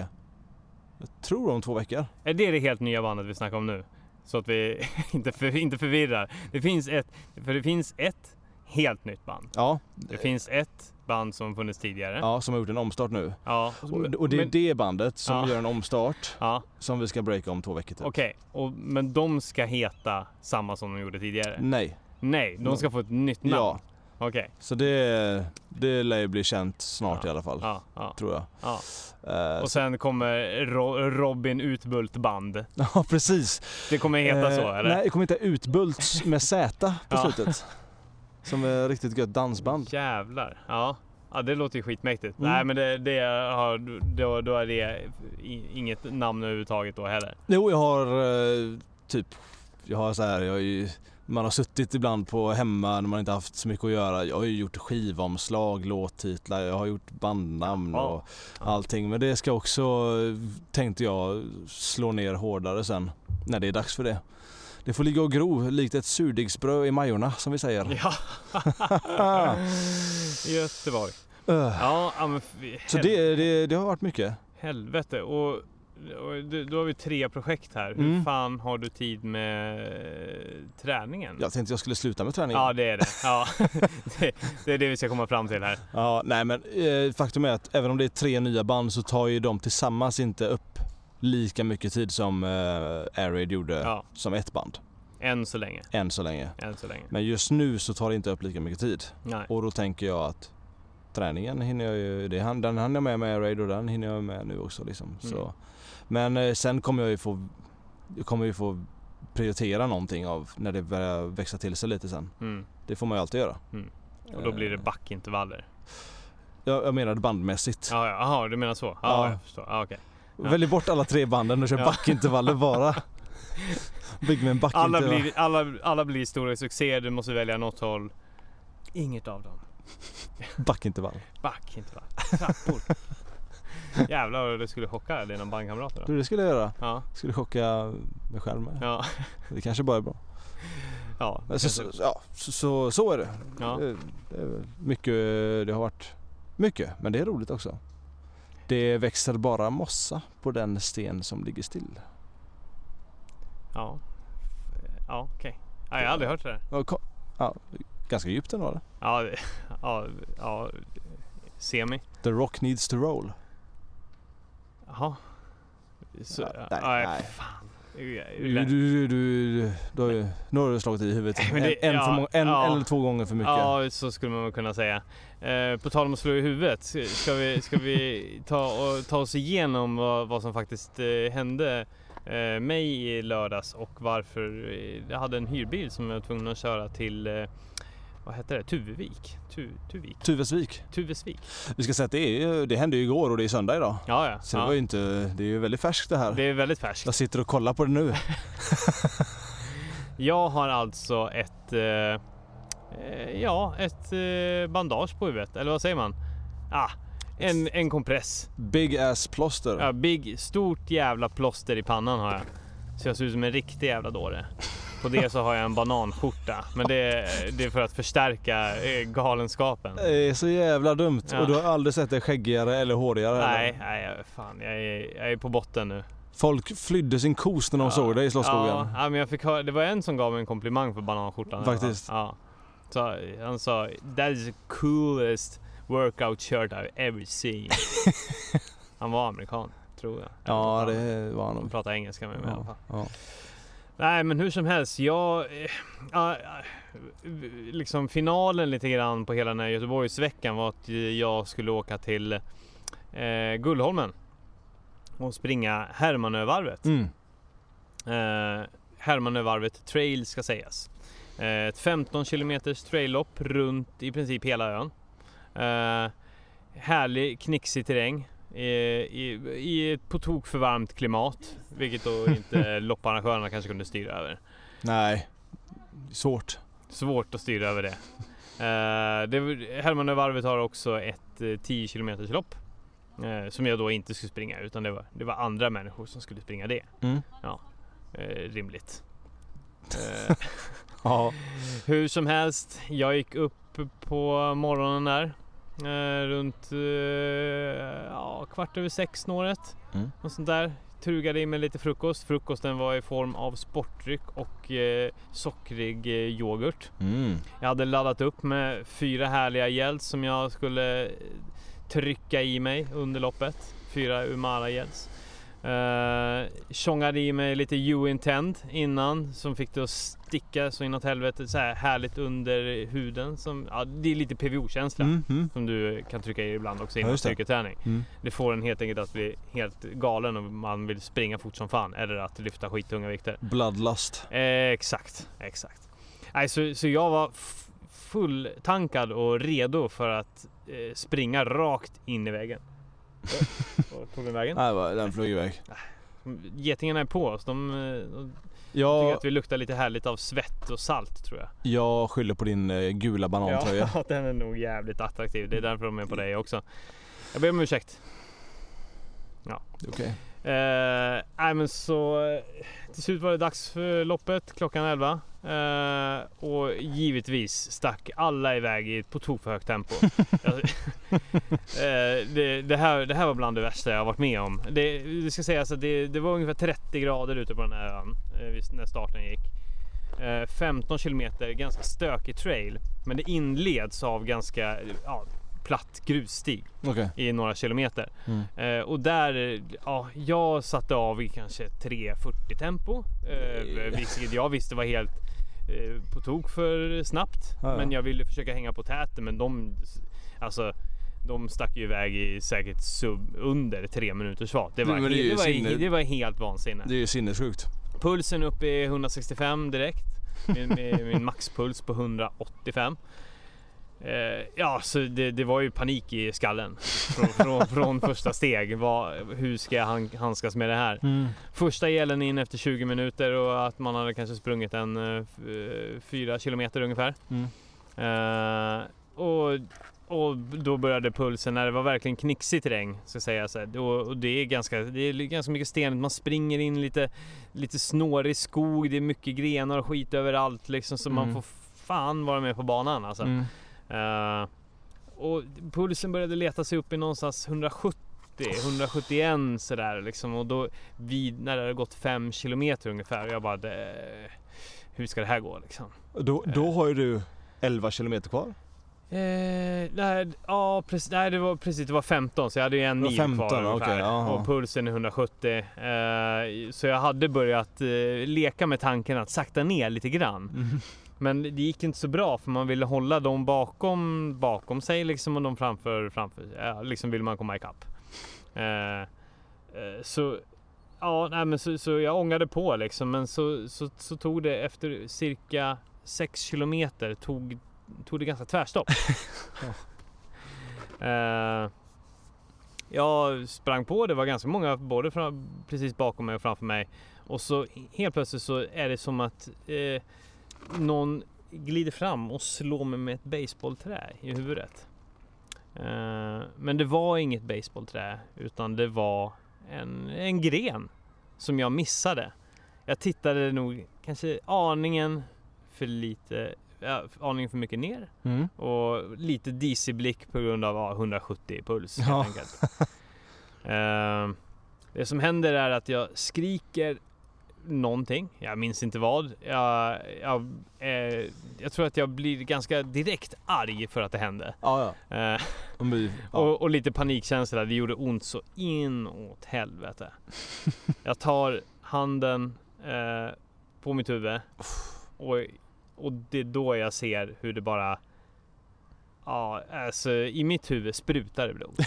B: jag tror om två veckor.
A: Är Eh, det det helt nya bandet vi snackar om nu? Så att vi inte, för, inte förvirrar. Det finns ett, för det finns ett helt nytt band.
B: Ja,
A: Det finns ett band som funnits tidigare.
B: ja som har gjort en omstart nu.
A: Ja,
B: Och, och det är
A: Alltså, men-
B: det bandet som
A: Ja.
B: gör en omstart
A: Ja,
B: som vi ska breaka om två veckor typ.
A: okej. Och- Men de ska heta samma som de gjorde tidigare?
B: Nej,
A: Nej, de ska få ett nytt namn?
B: Mm. ja.
A: Okej.
B: Så det, det lär ju bli känt snart
A: Ja.
B: i alla fall.
A: Ja, ja,
B: Tror jag.
A: ja.
B: Eh,
A: Och sen kommer Ro- Robin Utbult band.
B: ja precis.
A: Det kommer heta så
B: Eh,
A: eller?
B: Nej, det kommer inte Utbult med Z på
A: Ja.
B: slutet. Som är riktigt gött dansband.
A: Jävlar. Ja. ja, det låter ju skitmäktigt.
B: Mm.
A: Nej, men det, det har, då, då är det i- inget namn överhuvudtaget då heller.
B: Jo, jag har eh, typ, jag har så här, jag har ju, man har suttit ibland på hemma när man inte haft så mycket att göra. Jag har ju gjort skivomslag, låttitlar, jag har gjort bandnamn
A: Ja.
B: och allting. Men det ska också, eh, tänkte jag, slå ner hårdare sen när det är dags för det. Det får ligga och gro likt ett surdegsbröd i Majorna som vi säger.
A: Ja,
B: Ah.
A: Göteborg.
B: Eh,
A: Ja, ja, men fy-
B: Så det, det, det har varit mycket.
A: helvete. Och, och det- då har vi tre projekt här. Hur
B: Mm.
A: fan har du tid med eh, träningen?
B: Jag tänkte jag skulle sluta med träning.
A: Ja, det är det. Ja. det. Det är det vi ska komma fram till här.
B: Ja, nej men eh, faktum är att även om det är tre nya band så tar ju de tillsammans inte upp lika mycket tid som eh, Air Raid gjorde
A: Ja,
B: som ett band.
A: än så länge.
B: Än så länge.
A: Än så länge.
B: Men just nu så tar det inte upp lika mycket tid.
A: Nej.
B: Och då tänker jag att träningen hinner jag ju, det, hann- den hann jag med med Air Raid och den hinner jag med nu också liksom.
A: Mm.
B: Så. Men eh, sen kommer jag ju få, jag kommer ju få prioritera någonting av när det börjar växa till sig lite sen.
A: Mm.
B: Det får man ju alltid göra.
A: Mm. Och då blir det
B: Eh,
A: backintervaller.
B: Jag, jag menade bandmässigt.
A: Ja, ja. Jaha, du menar så? Ja,
B: Ja.
A: jag förstår. Ja, okej.
B: Välj bort alla tre banden och kör
A: Ja.
B: backintervaller bara. Bygger med en back
A: Alla
B: inte, va?
A: blir, alla, alla blir stora succéer, du måste välja något håll. Inget av dem.
B: Backintervall.
A: Back, inte back. Trappor. Jävlar vad det skulle chocka dina bandkamrater då.
B: Du det skulle jag göra.
A: Ja,
B: Skulle chocka mig själv med.
A: ja,
B: Det kanske bara är bra.
A: ja.
B: Men så, så, ja, så, så, så är det.
A: Ja.
B: Det, det är mycket, det har varit mycket, men det är roligt också. Det växer bara mossa på den sten som ligger still.
A: Ja, ja okej. Ja, jag har aldrig hört det där.
B: Ja, ko- Ja, ganska djupt ändå eller?
A: Ja, det- ja, ja. Semi.
B: The rock needs to roll.
A: Jaha. Så,
B: Ja,
A: ja,
B: nej,
A: nej,
B: nej.
A: fan.
B: Du, du, du, du, du, du, har ju- nu har du slagit i huvudet
A: Men det-
B: en, en, för
A: ja,
B: många, en
A: ja.
B: eller två gånger för mycket.
A: Ja, så skulle man väl kunna säga. Eh, på tal om att slå i huvudet, ska vi, ska vi ta, och, ta oss igenom vad, vad som faktiskt eh, hände eh, mig i lördags och varför eh, jag hade en hyrbil som jag var tvungen att köra till, eh, vad hette det, Tuvevik? Tu, Tuvik?
B: Tuvesvik.
A: Tuvesvik?
B: Vi ska säga att det, är, ju- det hände ju igår och det är söndag idag.
A: Ja, ja.
B: Så det, var ju
A: ja.
B: inte, det är ju väldigt färskt det här.
A: Det är väldigt färskt.
B: Jag sitter och kollar på det nu.
A: Jag har alltså ett, eh, eh, ja, ett eh, bandage på huvudet, eller vad säger man? Ah, en, en kompress.
B: Big ass plåster.
A: Ja, big, stort jävla plåster i pannan har jag. Så jag ser ut som en riktig jävla dåre. På det så har jag en bananskjorta. Men det, det är för att förstärka eh, galenskapen.
B: Det är så jävla dumt.
A: Ja.
B: Och du har aldrig sett dig skäggigare eller hårigare?
A: Nej,
B: Eller?
A: nej, jag- fan jag är, jag är på botten nu.
B: Folk flydde sin kos när de såg dig i Slottsskogen.
A: Ja, ja, men jag fick höra, det var en som gav mig en komplimang för bananskjortan.
B: Faktiskt.
A: Ja. Så, han sa “That is the coolest workout shirt I've ever seen”. han var amerikan, tror jag.
B: Ja, det var han
A: Han
B: nog.
A: pratade engelska med mig i alla fall.
B: Ja, ja.
A: Nej, men hur som helst. Jag... eh, ja, eh, liksom finalen lite grann på hela den här Göteborgsveckan var att jag skulle åka till eh, Gullholmen och springa Hermanövarvet.
B: Mm.
A: Eh, Hermanövarvet trail ska sägas. Eh, ett 15 kilometers traillopp runt i princip hela ön. Eh, härlig knixig terräng. eh, I, i ett på tok för varmt klimat, vilket då inte lopparrangörerna kanske kunde styra över.
B: Nej, svårt.
A: Svårt att styra över det. Eh, det Hermanövarvet har också ett eh, 10 kilometers lopp eh, som jag då inte skulle springa utan det var, det var andra människor som skulle springa det.
B: Mm.
A: Eh, rimligt.
B: Ja.
A: Hur som helst, jag gick upp på morgonen där. Eh, runt eh, ja, kvart över sex snåret.
B: Mm.
A: Och sånt där. Trugade i mig lite frukost. Frukosten var i form av sportdryck och eh, sockrig eh, yoghurt.
B: Mm.
A: Jag hade laddat upp med fyra härliga gels som jag skulle eh, trycka i mig under loppet. Fyra Umara gels. Eh, tjongade i mig lite U-intent innan som fick det att sticka så inåt helvete. Så här härligt under huden. Som, ja, det är lite PVO-känsla.
B: Mm. Mm.
A: Som du kan trycka i ibland också
B: Ja,
A: innan
B: just det.
A: styrketräning.
B: Mm.
A: Det får en helt enkelt att bli helt galen och man vill springa fort som fan. Eller att lyfta skittunga vikter.
B: Bloodlust.
A: Eh, exakt, exakt. Nej, så, så jag var f- fulltankad och redo för att eh, springa rakt in i väggen. Och, och tog den vägen.
B: Nej, va, den flög iväg.
A: Getingarna är på oss. De, eh, de tycker
B: Jag,
A: att vi luktar lite härligt av svett och salt tror jag.
B: jag skyller på din eh, gula banantröja.
A: Ja, den är nog Mm. jävligt attraktiv. Det är därför de är på dig också. Jag ber om ursäkt.
B: Okej.
A: Eh, nej men så eh, till slut var det dags för loppet klockan 11. Eh, och givetvis stack alla iväg i ett på tok för högt tempo. Jag- eh, det, det, här, det här var bland det värsta jag har varit med om. Det, det ska sägas att det, det var ungefär 30 grader ute på den här ön eh, vid- när starten gick. Eh, 15 kilometer, ganska stökig trail. Men det inleds av ganska ja, platt grusstig
B: Okej.
A: i några kilometer.
B: Mm.
A: Eh, och där, ja, jag satte av i kanske 3.40 tempo. Eh, vilket jag visste var helt eh, på tok för snabbt.
B: Ja, ja.
A: Men jag ville försöka hänga på täten men de, alltså, de stack ju iväg i säkert sub, under tre minuters fart. Det var,
B: Nej, men det är ju
A: det,
B: sinne.
A: var, det var helt vansinne.
B: Det är ju sinnessjukt.
A: Pulsen upp i 165 direkt. Min, min- min maxpuls på 185. Eh, ja, så det, det var ju panik i skallen från, från, från första steg. Vad, hur ska jag han- handskas med det här?
B: Mm.
A: Första elen in efter 20 minuter och att man hade kanske sprungit en eh, f- eh, fyra kilometer ungefär.
B: Mm.
A: Eh, och, och då började pulsen när det var verkligen knixig terräng. Ska säga, så här. Då- och det, är ganska, det är ganska mycket stenigt, man springer in lite, lite snårig skog, det är mycket grenar och skit överallt liksom. Så man
B: Mm.
A: får fan vara med på banan alltså.
B: Mm.
A: Eh, och pulsen började leta sig upp i någonstans 170, 171 sådär liksom. Och då vid, när det hade gått 5 kilometer ungefär. Jag bara, det, hur ska det här gå liksom?
B: Då, då har ju du 11 kilometer kvar.
A: Eh, nej, ja, precis, nej, det var precis, det var 15 så jag hade ju en
B: Det var
A: mil
B: 15,
A: kvar ungefär.
B: okej, jaha.
A: och pulsen är 170. Eh, så jag hade börjat eh, leka med tanken att sakta ner lite grann.
B: Mhm.
A: Men det gick inte så bra för man ville hålla dem bakom, bakom sig liksom och de framför, framför sig. ja, liksom vill man komma ikapp. Eh, eh, så ja, nej, men så, så jag ångade på liksom men så, så, så tog det efter cirka 6 kilometer tog, tog det ganska tvärstopp. eh, jag sprang på, det var ganska många både fram, precis bakom mig och framför mig. Och så helt plötsligt så är det som att eh, någon glider fram och slår mig med ett baseballträ i huvudet. Eh, men det var inget baseballträ utan det var en, en gren som jag missade. Jag tittade nog kanske aningen för lite, ja, aningen för mycket ner
B: Mm.
A: och lite disig blick på grund av ja, 170 puls helt
B: Ja.
A: enkelt. Ehm, det som händer är att jag skriker någonting. Jag minns inte vad. Jag, jag, eh, jag tror att jag blir ganska direkt arg för att det hände.
B: Ja, ja.
A: Eh,
B: Om vi, ja.
A: och, och lite panikkänsla. Det gjorde ont så inåt helvete. Jag tar handen eh, på mitt huvud och, och det är då jag ser hur det bara Ja, alltså i mitt huvud sprutar det blod.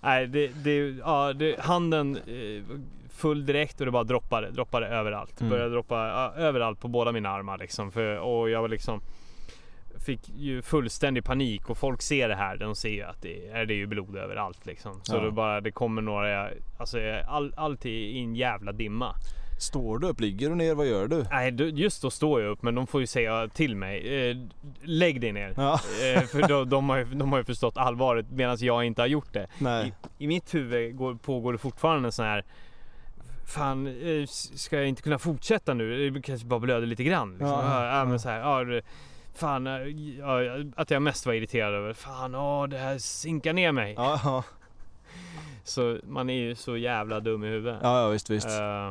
A: Nej, det, det, ja, det, handen eh, full direkt och det bara droppade, droppade överallt. Det
B: Mm.
A: Började droppa ja, överallt på båda mina armar liksom. För, och jag var liksom Fick ju fullständig panik och folk ser det här. De ser ju att det är, det är ju blod överallt liksom. Så
B: Ja.
A: det bara, det kommer några, jag- alltså jag- all, allt är i en jävla dimma.
B: Står du upp? Ligger du ner? Vad gör du?
A: Nej, då- just då står jag upp men de får ju säga till mig. Eh, lägg dig ner.
B: Ja,
A: Eh, för de, de, har ju, de har ju förstått allvaret medan jag inte har gjort det.
B: nej.
A: I mitt huvud går, pågår det fortfarande en sån här Fan, eh, s- ska jag inte kunna fortsätta nu? Det kanske bara blöder lite grann. Liksom.
B: Ja,
A: Ja, ja,
B: ja.
A: men så här, ja, det- fan, eh, ja, att jag mest var irriterad över. Fan, åh, det här sinkar ner mig.
B: Ja, ja.
A: Så man är ju så jävla dum i huvudet.
B: ja, ja visst, visst.
A: Eh,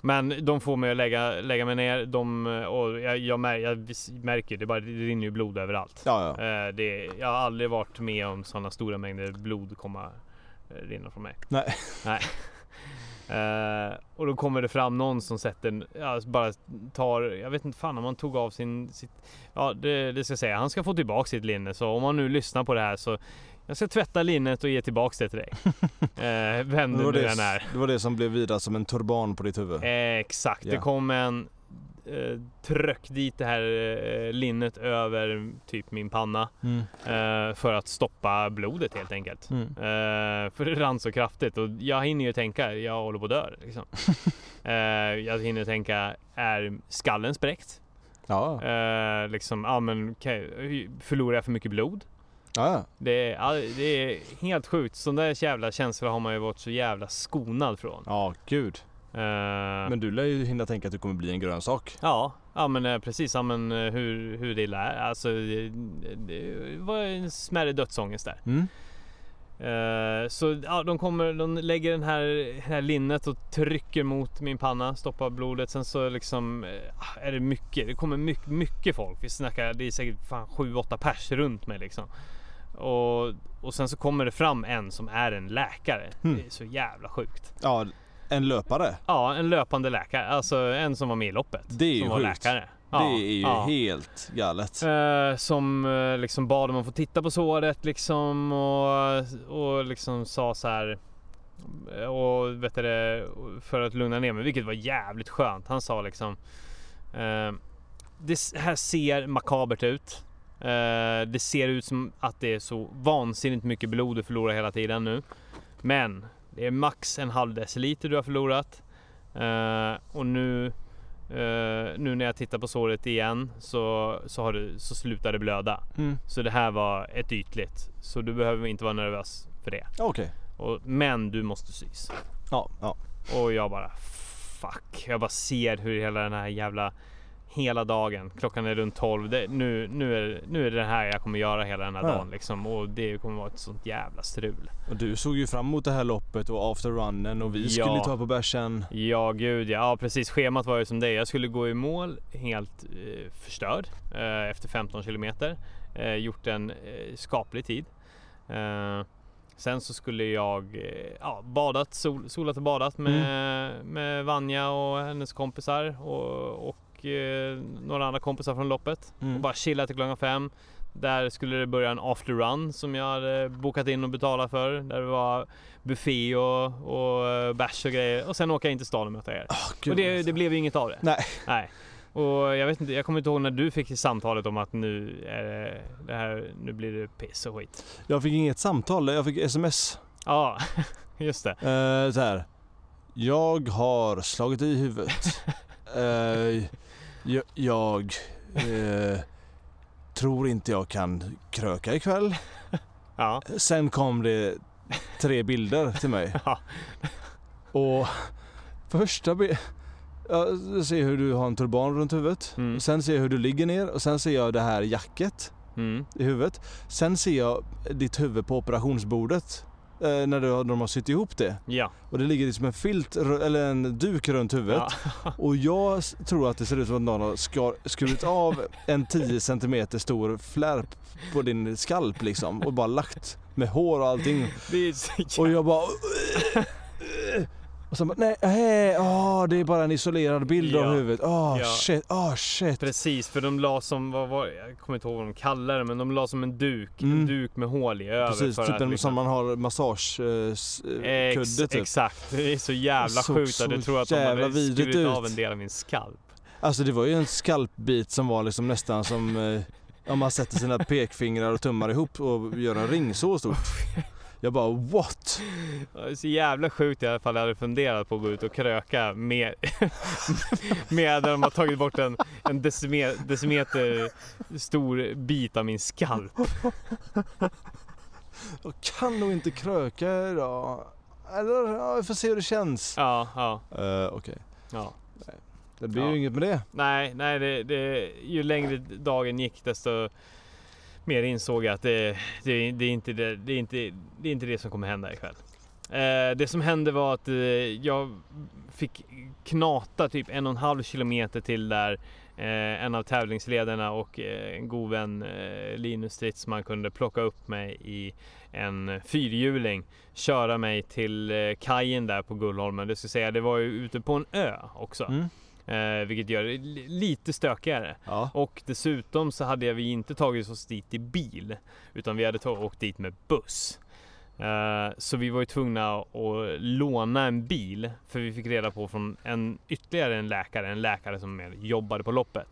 A: men de får mig att lägga, lägga mig ner. De, eh, och jag, jag, mär, jag vis- märker det, bara, det rinner ju blod överallt.
B: Ja, ja.
A: Eh, det, jag har aldrig varit med om sådana stora mängder blod komma eh, rinna från mig.
B: Nej.
A: Nej. Eh, och då kommer det fram någon som sätter, en- ja, bara tar, jag vet inte fan om han tog av sin, sitt, ja det, det ska jag säga, han ska få tillbaka sitt linne. Så om han nu lyssnar på det här så, jag ska tvätta linnet och ge tillbaka det till dig. eh, vem
B: Det var
A: du nu
B: det,
A: än är.
B: det var det som blev vidare som en turban på ditt huvud.
A: Eh, exakt, det
B: Ja.
A: kom en, eh, tryck dit det här eh, linnet över typ min panna.
B: Mm.
A: Eh, för att stoppa blodet helt enkelt.
B: Mm.
A: Eh, för det rann så kraftigt och jag hinner ju tänka, jag håller på att dö. Liksom. Eh, jag hinner tänka, är skallen spräckt?
B: Ja, ja.
A: Eh, liksom, ja, men, kan- förlorar jag för mycket blod?
B: ja.
A: Det är, ja, det är helt sjukt, sådana där jävla känslor har man ju varit så jävla skonad från.
B: Ja, gud.
A: Eh,
B: Men du lär ju hinna tänka att du kommer bli en grönsak.
A: Ja, ja men eh, precis. Ja, men eh, hur, hur det är. Alltså, det, det var en smärre dödsångest där.
B: Mm.
A: Eh, så ja, de kommer, de lägger den här, det här linnet och trycker mot min panna, stoppar blodet. Sen så liksom eh, är det mycket, det kommer mycket, mycket folk. Vi snackar, det är säkert fan 7-8 pers runt mig liksom. Och, och sen så kommer det fram en som är en läkare.
B: Mm.
A: Det är så jävla sjukt.
B: Ja, en löpare.
A: Ja, en löpande läkare. Alltså en som var med i loppet.
B: Det är ju
A: som var
B: sjukt.
A: läkare.
B: det
A: Ja,
B: är ju
A: ja.
B: helt galet.
A: Eh, som eh, liksom bad om att få titta på såret liksom och, och liksom sa så här eh, och vet du, det, för att lugna ner mig, vilket var jävligt skönt. Han sa liksom eh, det här ser makabert ut. Eh, det ser ut som att det är så vansinnigt mycket blod du förlorar hela tiden nu. Men det är max en halv deciliter du har förlorat. Eh, och nu, eh, nu när jag tittar på såret igen så, så, har du, så slutar det blöda.
B: Mm.
A: Så det här var ett ytligt. Så du behöver inte vara nervös för det.
B: Okej.
A: Och, men du måste sys.
B: Ja, ja.
A: Och jag bara fuck. Jag bara ser hur hela den här jävla hela dagen. Klockan är runt 12. Det, nu, nu, är, nu är det det här jag kommer göra hela den här
B: Ja.
A: dagen liksom. Och det kommer vara ett sånt jävla strul.
B: Och du såg ju fram emot det här loppet och after runnen och vi
A: Ja.
B: skulle ta på bärsen.
A: Ja gud ja. ja precis. Schemat var ju som det. Jag skulle gå i mål helt eh, förstörd eh, efter 15 kilometer. Eh, gjort en eh, skaplig tid. Eh, sen så skulle jag eh, ja, badat, sol, solat och badat med, med Vanja och hennes kompisar och, och eh, några andra kompisar från loppet.
B: Mm.
A: och bara chilla till klockan fem. Där skulle det börja en after run som jag hade bokat in och betalat för. Där det var buffé och, och eh, bärs och grejer. Och sen åka in till stan och möta er.
B: Åh, gud,
A: och det,
B: alltså.
A: det blev ju inget av det.
B: Nej.
A: Nej. Och jag vet inte, jag kommer inte ihåg när du fick samtalet om att nu är det, det här, nu blir det piss och skit.
B: Jag fick inget samtal, jag fick sms.
A: Ja, just det.
B: Eh, så här. Jag har slagit i huvudet. Eh, jag jag eh, tror inte jag kan kröka ikväll.
A: Ja.
B: Sen kom det tre bilder till mig.
A: Ja.
B: Och första bilden... Jag ser hur du har en turban runt huvudet.
A: Mm.
B: Sen ser jag hur du ligger ner och sen ser jag det här jacket
A: Mm.
B: i huvudet. Sen ser jag ditt huvud på operationsbordet. Eh, när du, har- de har sytt ihop det.
A: Ja.
B: Och det ligger liksom en filt, ru- eller en duk runt huvudet. Och jag s- tror att det ser ut som att någon har skar, skurit av en 10 cm stor flärp på din skalp liksom. Och bara lagt med hår och allting.
A: Det är så
B: Och jag bara... Och sen bara, nej, hej, åh, det är bara en isolerad bild
A: Ja.
B: av huvudet. Åh
A: Ja.
B: shit, åh shit.
A: Precis, för de la som, vad var, jag kommer inte ihåg vad de kallade det, men de la som en duk, en
B: Mm.
A: duk med hål i över.
B: Precis,
A: för
B: typ
A: att
B: en
A: liksom-
B: som man har eh, massagekudde
A: Ex,
B: typ.
A: Exakt, det är så jävla
B: Det såg
A: sjukt att du
B: så
A: tror att de
B: jävla
A: hade
B: vidrigt
A: skurit
B: ut.
A: av en del av min skalp.
B: Alltså det var ju en skalpbit som var liksom nästan som eh, om man sätter sina pekfingrar och tummar ihop och gör en ring så stort. Jag bara what?
A: Ja, det är Så jävla sjukt i alla fall, jag hade funderat på att gå ut och kröka med, med när de har tagit bort en, en decime, decimeter stor bit av min skalp.
B: Jag kan nog inte kröka idag. Eller ja, vi får se hur det känns.
A: Ja, ja,
B: Eh, Okej,
A: ja.
B: det blir
A: Ja.
B: ju inget med det.
A: Nej, nej det, det, ju längre dagen gick desto mer insåg jag att det, det, det, är, inte det, det, är, inte, det är inte det som kommer hända ikväll. Eh, det som hände var att eh, jag fick knata typ en och en halv kilometer till där eh, en av tävlingsledarna och eh, en god vän eh, Linus Stridsman kunde plocka upp mig i en fyrhjuling, köra mig till eh, kajen där på Gullholmen. Det ska säga, det var ju ute på en ö också.
B: Mm.
A: Eh, vilket gör det li- lite stökigare.
B: Ja.
A: Och dessutom så hade vi inte tagit oss dit i bil. Utan vi hade tag- åkt dit med buss. Eh, så vi var ju tvungna att låna en bil. För vi fick reda på från en, ytterligare en läkare, en läkare som mer jobbade på loppet.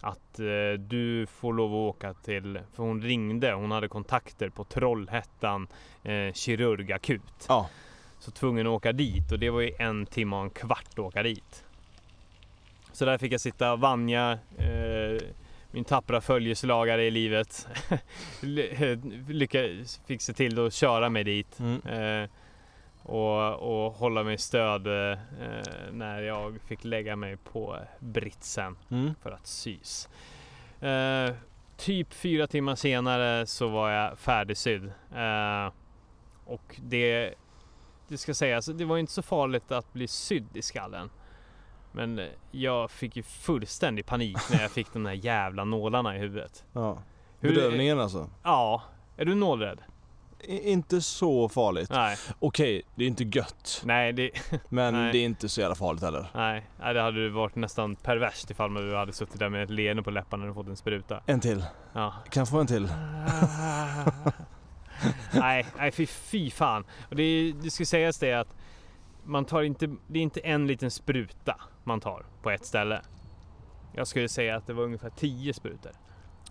A: Att eh, du får lov att åka till, för hon ringde, hon hade kontakter på Trollhättan eh, kirurgakut.
B: Ja.
A: Så tvungen att åka dit och det var ju en timme och en kvart att åka dit. Så där fick jag sitta Vanja, eh, min tappra följeslagare i livet, ly- eh, lyckades, fick se till att köra mig dit.
B: Mm.
A: Eh, och, och hålla mig stöd eh, eh, när jag fick lägga mig på britsen
B: Mm.
A: för att sys. Eh, typ fyra timmar senare så var jag färdigsydd. Eh, och det, det ska sägas, det var inte så farligt att bli sydd i skallen. Men jag fick ju fullständig panik när jag fick de där jävla nålarna i huvudet.
B: Ja.
A: Hur-
B: Bedövningen alltså.
A: Ja, är du nålrädd?
B: I, inte så farligt.
A: Nej,
B: Okej, det är inte gött.
A: nej, det,
B: Men
A: Nej.
B: det är inte så jävla farligt heller.
A: nej, nej, det hade ju varit nästan perverst ifall du hade suttit där med ett leende på läpparna och fått en spruta.
B: En till.
A: Ja.
B: Kan jag få en till?
A: nej, nej fy, fy fan. Och det, är- det ska sägas det att man tar inte, det är inte en liten spruta man tar på ett ställe. Jag skulle säga att det var ungefär 10 sprutor.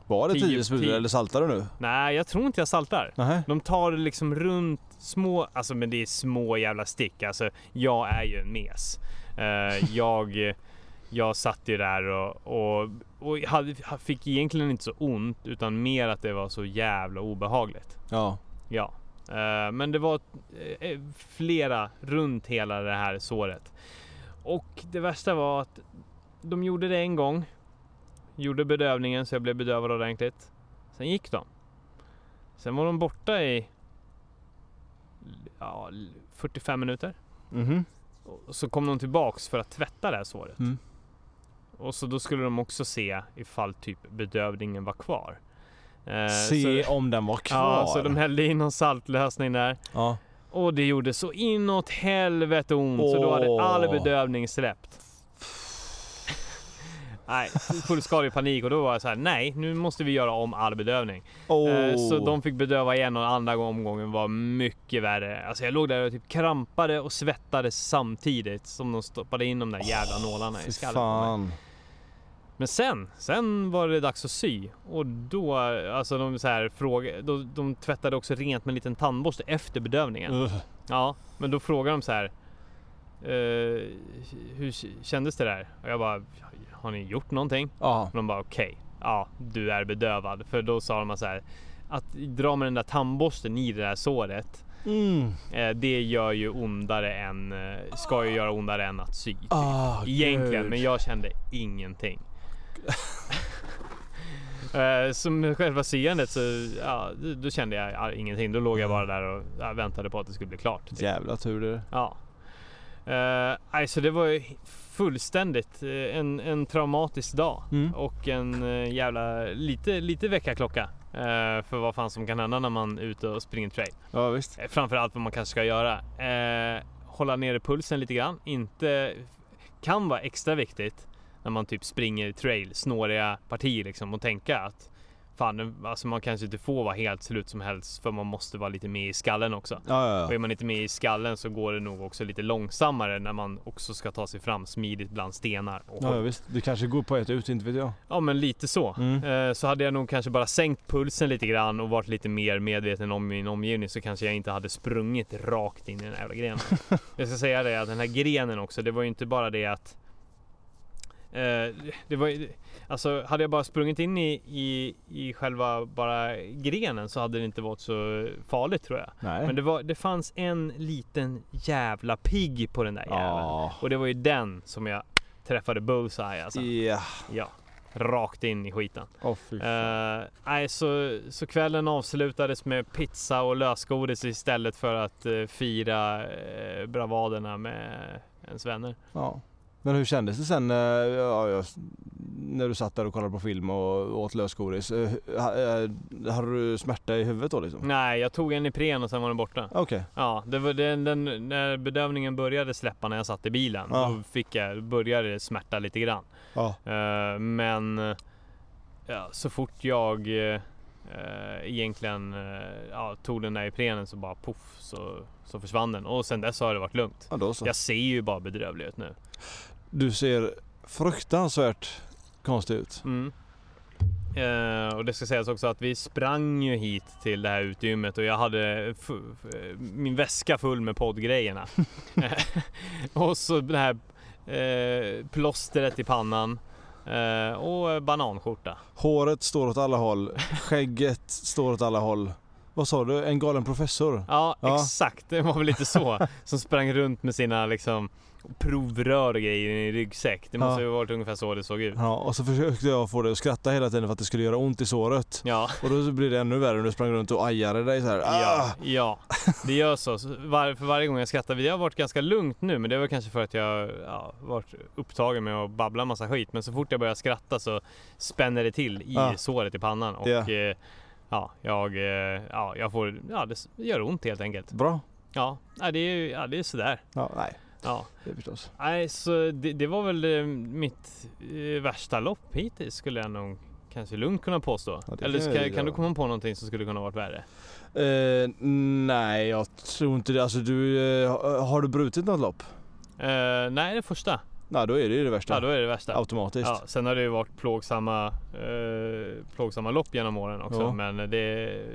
B: Var det
A: Tio-
B: 10 sprutor
A: tio.
B: eller saltar du nu?
A: Nej, jag tror inte jag saltar.
B: Nej.
A: De tar liksom runt små, alltså men det är små jävla stick. Alltså jag är ju en mes. Eh, jag, jag satt ju där och, och, och jag hade, jag fick egentligen inte så ont utan mer att det var så jävla obehagligt.
B: Ja.
A: Ja, eh, men det var eh, flera runt hela det här såret. Och det värsta var att de gjorde det en gång. Gjorde bedövningen så jag blev bedövad ordentligt. Sen gick de. Sen var de borta i ja, 45 minuter.
B: Mhm.
A: Och så kom de tillbaks för att tvätta det här såret.
B: Mm.
A: Och så då skulle de också se ifall typ bedövningen var kvar. Eh,
B: Se
A: så,
B: om den var kvar.
A: ja, så de hällde in någon saltlösning där.
B: Ja.
A: Och det gjorde så inåt helvete ont så då hade
B: Åh.
A: all bedövning släppt. Nej, fullskalig panik och då var jag så här: nej nu måste vi göra om all bedövning.
B: Åh.
A: Eh, Så de fick bedöva igen och andra omgången var mycket värre. Alltså jag låg där och typ krampade och svettades samtidigt som de stoppade in de där jävla nålarna
B: Fy
A: i skallen på mig.
B: fan.
A: Men sen, sen var det dags att sy och då, alltså de så här fråga, de, de tvättade också rent med en liten tandborste efter bedövningen.
B: Ugh.
A: Ja, men då frågar de så här. eh, hur k- kändes det där? Och jag bara, har ni gjort någonting?
B: Ja.
A: Och de bara, okej, ja, du är bedövad. För då sa de så här, att dra med den där tandborsten i det där såret,
B: Mm.
A: eh, det gör ju ondare än, eh, ska ju göra ondare än att sy.
B: Ah,
A: Egentligen,
B: gud.
A: men jag kände ingenting. Eh, Som själva syandet så ja, då kände jag ja, ingenting. Då låg jag
B: Mm.
A: bara där och ja, väntade på att det skulle bli klart. typ.
B: Jävla tur det.
A: Ja. Eh, nej, så det var ju fullständigt eh, en, en traumatisk dag
B: Mm.
A: och en eh, jävla lite, lite väckarklocka eh, för vad fan som kan hända när man är ute och springer trail.
B: Ja visst.
A: Eh, Framförallt vad man kanske ska göra. Eh, hålla nere pulsen lite grann. Inte, kan vara extra viktigt när man typ springer trail, snåriga partier liksom och tänka att fan, nu- alltså man kanske inte får vara helt slut som helst för man måste vara lite med i skallen också.
B: Ja, ja,
A: Och är
B: ja.
A: man inte med i skallen så går det nog också lite långsammare när man också ska ta sig fram smidigt bland stenar. Och
B: ja, ja visst. Du kanske går på ett ut, inte vet jag.
A: Ja men lite så.
B: Mm.
A: Eh, Så hade jag nog kanske bara sänkt pulsen lite grann och varit lite mer medveten om min omgivning så kanske jag inte hade sprungit rakt in i den här jävla grenen. jag ska säga det att den här grenen också, det var ju inte bara det att... eh, Det var ju- Alltså hade jag bara sprungit in i, i, i själva bara grenen så hade det inte varit så farligt tror jag.
B: Nej.
A: Men det, var, det fanns en liten jävla pigg på den där jäveln.
B: Ja.
A: Och det var ju den som jag träffade bullseye alltså.
B: Ja.
A: Ja, rakt in i skiten.
B: Åh fy fan.
A: Eh, nej, så, så kvällen avslutades med pizza och lösgodis istället för att eh, fira eh, bravaderna med ens vänner.
B: Ja. Men hur kändes det sen eh, ja, ja, när du satt där och kollade på film och åt lösgodis? Eh, ha- eh, Hade du smärta i huvudet då liksom?
A: Nej, jag tog en Ipren och sen var den borta.
B: Okej.
A: Ja, det var den, den, när bedövningen började släppa när jag satt i bilen,
B: Ja.
A: då fick jag, började det smärta lite grann.
B: Ja.
A: Eh, men eh, ja, så fort jag eh, eh, egentligen eh, ja, tog den där Iprenen så bara poff så, så försvann den. Och sen dess har det varit lugnt.
B: Ja då så.
A: Jag ser ju bara bedrövlig ut nu.
B: Du ser fruktansvärt konstig ut.
A: Mm. Eh, och det ska sägas också att vi sprang ju hit till det här utegymmet och jag hade f- f- min väska full med poddgrejerna. Eh, och så det här eh, plåstret i pannan eh, och bananskjorta.
B: Håret står åt alla håll. Skägget står åt alla håll. Vad sa du? En galen professor?
A: Ja,
B: Ja.
A: exakt. Det var väl lite så. Som sprang runt med sina liksom, provrör och grejer i en ryggsäck. Det måste
B: Ja.
A: ju ha varit ungefär så det såg ut.
B: Ja, och så försökte jag få dig att skratta hela tiden för att det skulle göra ont i såret.
A: Ja,
B: Och då blir det ännu värre när du sprang runt och ajade dig så här.
A: ja,
B: Ah!
A: ja. det gör så. Så Var, för varje gång jag skrattar. Det har varit ganska lugnt nu, men det var kanske för att jag ja, varit upptagen med att babbla en massa skit. Men så fort jag börjar skratta så spänner det till i
B: Ja.
A: såret i pannan. Och,
B: Ah. Ja.
A: eh, Ja, jag, eh, ja, jag får, ja, det s- gör ont helt enkelt.
B: Bra.
A: Ja, ja, det är, ju- ja, det är sådär.
B: Ja, nej.
A: Ja.
B: Det är förstås.
A: Nej, så det, det var väl eh, mitt eh, värsta lopp hittills skulle jag nog kanske lugnt kunna påstå.
B: Ja, det
A: Eller
B: kan
A: ska,
B: jag ju
A: kan du
B: göra.
A: komma på någonting som skulle kunna varit värre?
B: Eh, nej, eh, jag tror inte det. Alltså du, eh, har du brutit något lopp?
A: Eh, nej, det första.
B: Nej, då är det ju det värsta.
A: Ja, då är det det värsta.
B: Automatiskt.
A: Ja, sen har det ju varit plågsamma, eh, plågsamma lopp genom åren också.
B: Ja.
A: Men det,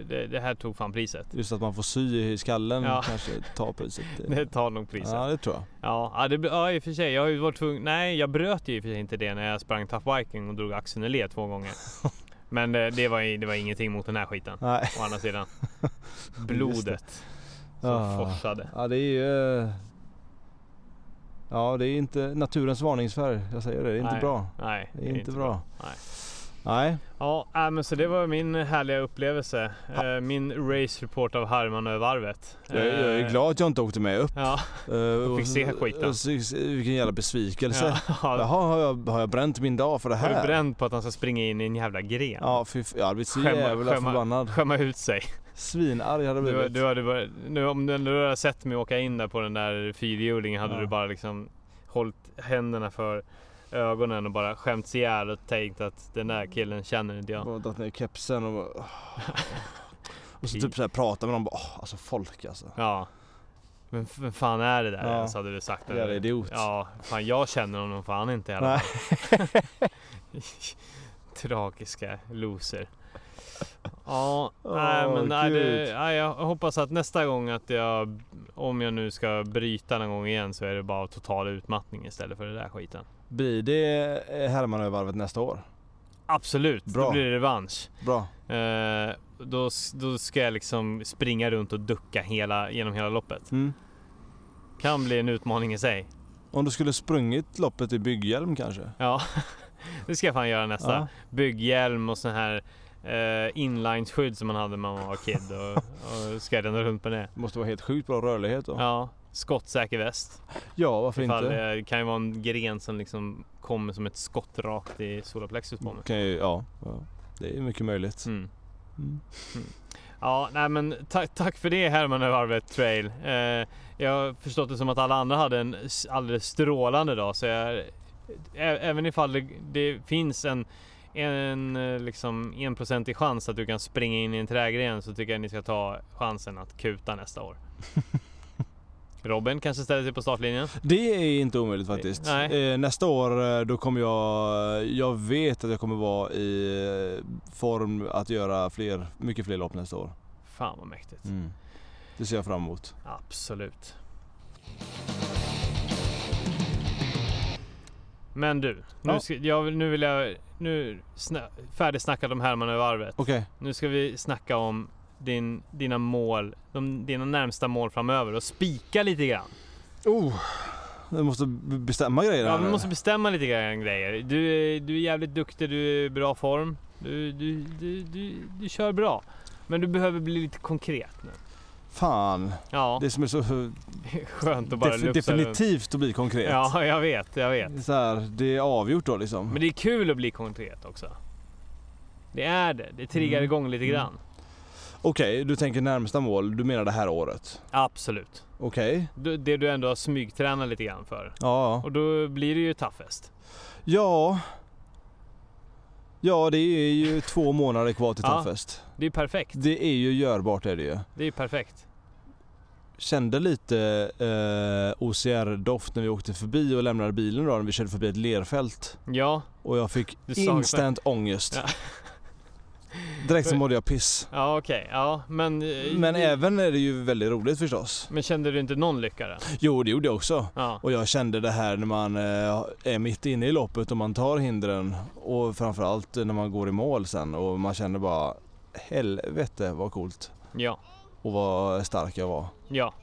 A: det, det här tog fan priset.
B: Just att man får sy i skallen
A: Ja.
B: kanske tar priset.
A: Det tar nog priset.
B: Ja, det tror jag.
A: Ja, ja, det, ja i och för sig. Jag har ju varit tvungen. Nej, jag bröt ju i och för sig inte det när jag sprang Tough Viking och drog axeln i led två gånger. Men det, det, var, ju- det var ingenting mot den här skiten.
B: Nej.
A: Å andra sidan. Blodet som
B: Ja.
A: forsade.
B: Ja, det är ju... eh, Ja, det är inte naturens varningsfärg. Jag säger det. Det är inte
A: Nej.
B: bra.
A: Nej,
B: Det är, inte, bra.
A: Nej.
B: Nej.
A: Ja, äh, men så det var min härliga upplevelse. Eh, Min race report av Harmanövarvet.
B: Jag, är- jag är
A: Eh,
B: glad att jag inte åkte med upp.
A: Ja,
B: Eh,
A: fick
B: och-
A: se skiten.
B: och se- se- Vilken jävla besvikelse.
A: ja.
B: Jaha, har jag, har jag bränt min dag för det
A: Har
B: här?
A: du bränt på att han ska springa in i en jävla gren?
B: Ja, fy, f- jag hade blivit så
A: Skämma-
B: jävla
A: skämma-
B: förbannad.
A: Skämma ut sig.
B: Svinarg hade jag
A: Du,
B: blivit.
A: du hade bara, nu, om du, du hade sett mig åka in där på den där fyrhjulingen hade
B: Ja.
A: du bara liksom hållit händerna för ögonen och bara skämts ihjäl och tänkt att den där killen känner inte jag.
B: Bara dragit ner kepsen och bara, åh. Och så typ så här pratar med dem bara, åh, alltså folk alltså.
A: Ja. Men f- vem fan är det där
B: Ja.
A: ens hade du sagt.
B: Jävla idiot.
A: Ja, fan jag känner honom fan inte i alla
B: Nej.
A: fall. Tragiska loser. Ja,
B: Åh,
A: nej, men nej, det,
B: gud.
A: nej, jag hoppas att nästa gång att jag, om jag nu ska bryta någon gång igen så är det bara total utmattning istället för den där skiten.
B: Blir det eh, Hermanövarvet nästa år?
A: Absolut,
B: Bra.
A: då blir det revansch.
B: Bra.
A: Eh, då, s- då ska jag liksom springa runt och ducka hela, genom hela loppet. Kan bli en utmaning i sig.
B: Mm. Om du skulle sprungit loppet i bygghjälm kanske?
A: Ja, det ska jag fan göra nästa.
B: Ja.
A: Bygghjälm och sån här eh, inlineskydd som man hade när man var kid och, och skräddade runt med det.
B: Det måste vara helt sjukt bra rörlighet då. Ja,
A: Ja, skottsäker väst.
B: varför
A: Ifall
B: inte?
A: det kan ju vara en gren som liksom kommer som ett skott rakt i solarplexus på mig.
B: Kan ju, ja, ja, det är mycket möjligt.
A: Mm.
B: Mm.
A: Ja, nej men ta- tack för det Herman Varvet Trail. Eh, jag har förstått det som att alla andra hade en s- alldeles strålande dag så jag, ä- även ifall det, det finns en en eh, liksom enprocentig chans att du kan springa in i en trägren så tycker jag ni ska ta chansen att kuta nästa år. Robin kanske ställer sig på startlinjen.
B: Det är inte omöjligt faktiskt.
A: Nej.
B: Eh, Nästa år eh, då kommer jag, jag vet att jag kommer vara i eh, form att göra fler, mycket fler lopp nästa år.
A: Fan vad mäktigt.
B: Det ser jag fram emot.
A: Absolut. Men du,
B: Ja.
A: nu, ska, jag, vill- nu vill jag... Nu sna, färdigsnackat om Hermanövarvet.
B: Okej,
A: Nu ska vi snacka om din, dina mål, de, dina närmsta mål framöver och spika lite grann.
B: Oh, du måste b- bestämma grejer
A: Ja,
B: här
A: vi
B: nu.
A: måste bestämma lite grann grejer. Du, är- du är jävligt duktig, du är i bra form. Du, du, du, du, du kör bra. Men du behöver bli lite konkret nu.
B: Fan,
A: Ja,
B: det som är så
A: skönt att bara
B: def-
A: lufsa runt.
B: definitivt att bli konkret.
A: Ja, jag vet, jag vet.
B: Så här, det är avgjort då liksom.
A: Men det är kul att bli konkret också. Det är det. Det triggar
B: Mm.
A: igång lite
B: Mm.
A: grann.
B: Okej, du tänker närmsta mål, du menar det här året?
A: Absolut.
B: Okej,
A: Du- Det du ändå har smygtränat lite grann för.
B: ja.
A: Och då blir det ju toughest.
B: Ja. Ja, det är ju två månader kvar till
A: Ja.
B: Toughest.
A: Det är perfekt.
B: Det är ju görbart är det ju.
A: Det är perfekt.
B: Kände lite eh, OCR-doft när vi åkte förbi och lämnade bilen då, när vi körde förbi ett lerfält.
A: Ja,
B: Och jag fick
A: Du saknar-
B: instant ångest.
A: Ja.
B: Direkt så mådde jag piss.
A: ja okej. Ja, men... eh,
B: Men även är det ju väldigt roligt förstås.
A: men kände du inte någon lycka då?
B: Jo, det gjorde jag också.
A: Ja.
B: Och jag kände det här när man eh, är mitt inne i loppet och man tar hindren och framförallt när man går i mål sen och man känner bara helvete vad coolt
A: Ja.
B: och vad stark jag var.
A: Ja.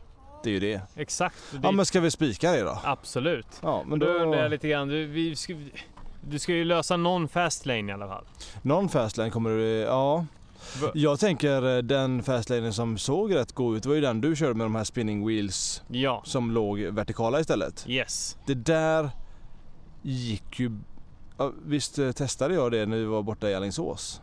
B: Det är ju det.
A: Exakt. Det,
B: Ja men ska vi spika det då?
A: Absolut.
B: Ja men
A: Då
B: då...
A: undrar jag lite grann. Du, vi ska, du ska ju lösa någon fast lane i alla fall.
B: Någon fastlane kommer det... Ja.
A: Va-
B: Jag tänker eh, den fastlanen som såg rätt god ut var ju den du körde med de här spinning wheels
A: Ja.
B: som låg vertikala istället.
A: Yes.
B: Det där gick ju... Ja, visst eh, testade jag det när vi var borta i Alingsås?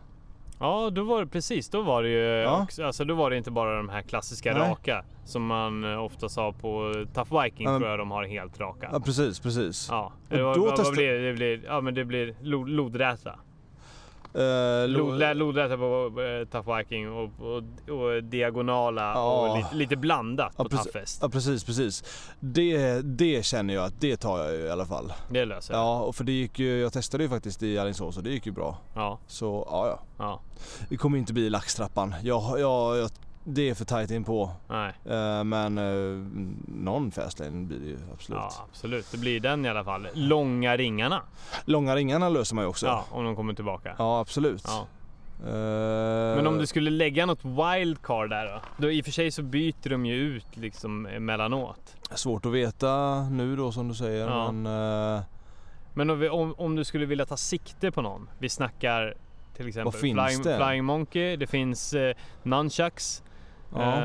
A: Ja, då var det precis. Då var det ju
B: Ja.
A: också, alltså, då var det inte bara de här klassiska
B: Nej.
A: raka som man eh, ofta sa på eh, Tough Viking
B: Ja, men-
A: tror jag de har helt raka.
B: Ja precis, precis.
A: Ja,
B: Och
A: det var,
B: då
A: vad, vad
B: testa-
A: blir det? det? Blir, ja, men det blir lo- lodräta.
B: Eh, Lo-
A: Lodlä- Lodräta på eh, Tough Viking och, och, och diagonala
B: Ja.
A: och lite, lite blandat
B: Ja,
A: på
B: precis.
A: Toughest.
B: Ja precis, precis. Det, det känner jag att det tar jag ju i alla fall.
A: Det löser jag.
B: Ja, och för det gick ju, jag testade ju faktiskt i Alingsås och det gick ju bra.
A: Ja.
B: Så ja, ja.
A: ja.
B: Det kommer ju inte bli laxtrappan. Jag, jag, jag, det är för tajt in på.
A: Nej.
B: Eh, men eh, någon fastlane blir det ju absolut.
A: Ja, absolut. Det blir den i alla fall. Långa ringarna.
B: Långa ringarna löser man ju också.
A: Ja, om de kommer tillbaka.
B: Ja, absolut.
A: Ja.
B: Eh,
A: Men om du skulle lägga något wildcard där då? då? I och för sig så byter de ju ut liksom emellanåt.
B: Svårt att veta nu då som du säger.
A: Ja.
B: Men, eh,
A: Men om, vi, om, om du skulle vilja ta sikte på någon. Vi snackar till exempel
B: Vad finns
A: Flying,
B: det?
A: Flying Monkey. Det finns eh, Nunchucks.
B: ja.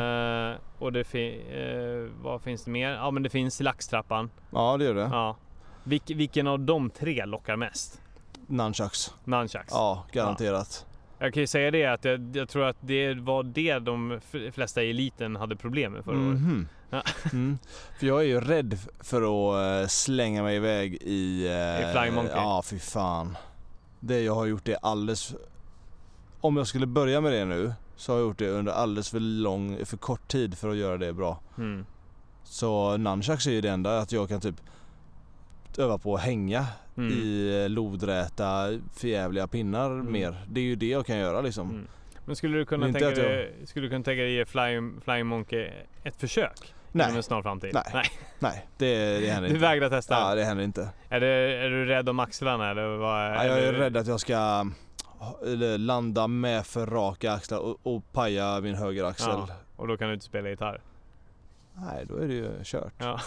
A: Eh, och det fi- eh, vad finns det mer? Ja men det finns laxtrappan.
B: ja, det gör det.
A: Ja. Vilk, vilken av de tre lockar mest?
B: Nunchucks.
A: Nunchucks.
B: Ja, garanterat.
A: Jag kan ju säga det att jag, jag tror att det var det de f- flesta i eliten hade problem med förra året.
B: Mhm.
A: Ja.
B: Mm. För jag är ju rädd för att eh, slänga mig iväg i... eh,
A: I Flying Monkey?
B: Ja, fy fan. Det jag har gjort det alldeles... Om jag skulle börja med det nu så har jag gjort det under alldeles för lång, för kort tid för att göra det bra.
A: Mm.
B: Så nunchucks är ju det enda att jag kan typ öva på att hänga
A: Mm.
B: i eh, lodräta, förjävliga pinnar
A: Mm.
B: mer. Det är ju det jag kan göra liksom.
A: Mm. Men skulle du kunna
B: Inte
A: tänka
B: att jag-
A: dig, skulle du kunna tänka dig ge Flying, Flying Monkey ett försök? Inom
B: Nej,
A: en snar framtid?
B: Nej. nej, det, det händer
A: Du
B: inte.
A: vägrar testa?
B: Ja, det händer inte.
A: Är, du, är du rädd om axlarna eller vad?
B: Ja, jag är
A: eller-
B: rädd att jag ska ha- eller landa med för raka axlar och, och paja min höger axel.
A: Ja. Och då kan du inte spela gitarr?
B: Nej, då är det ju kört.
A: Ja.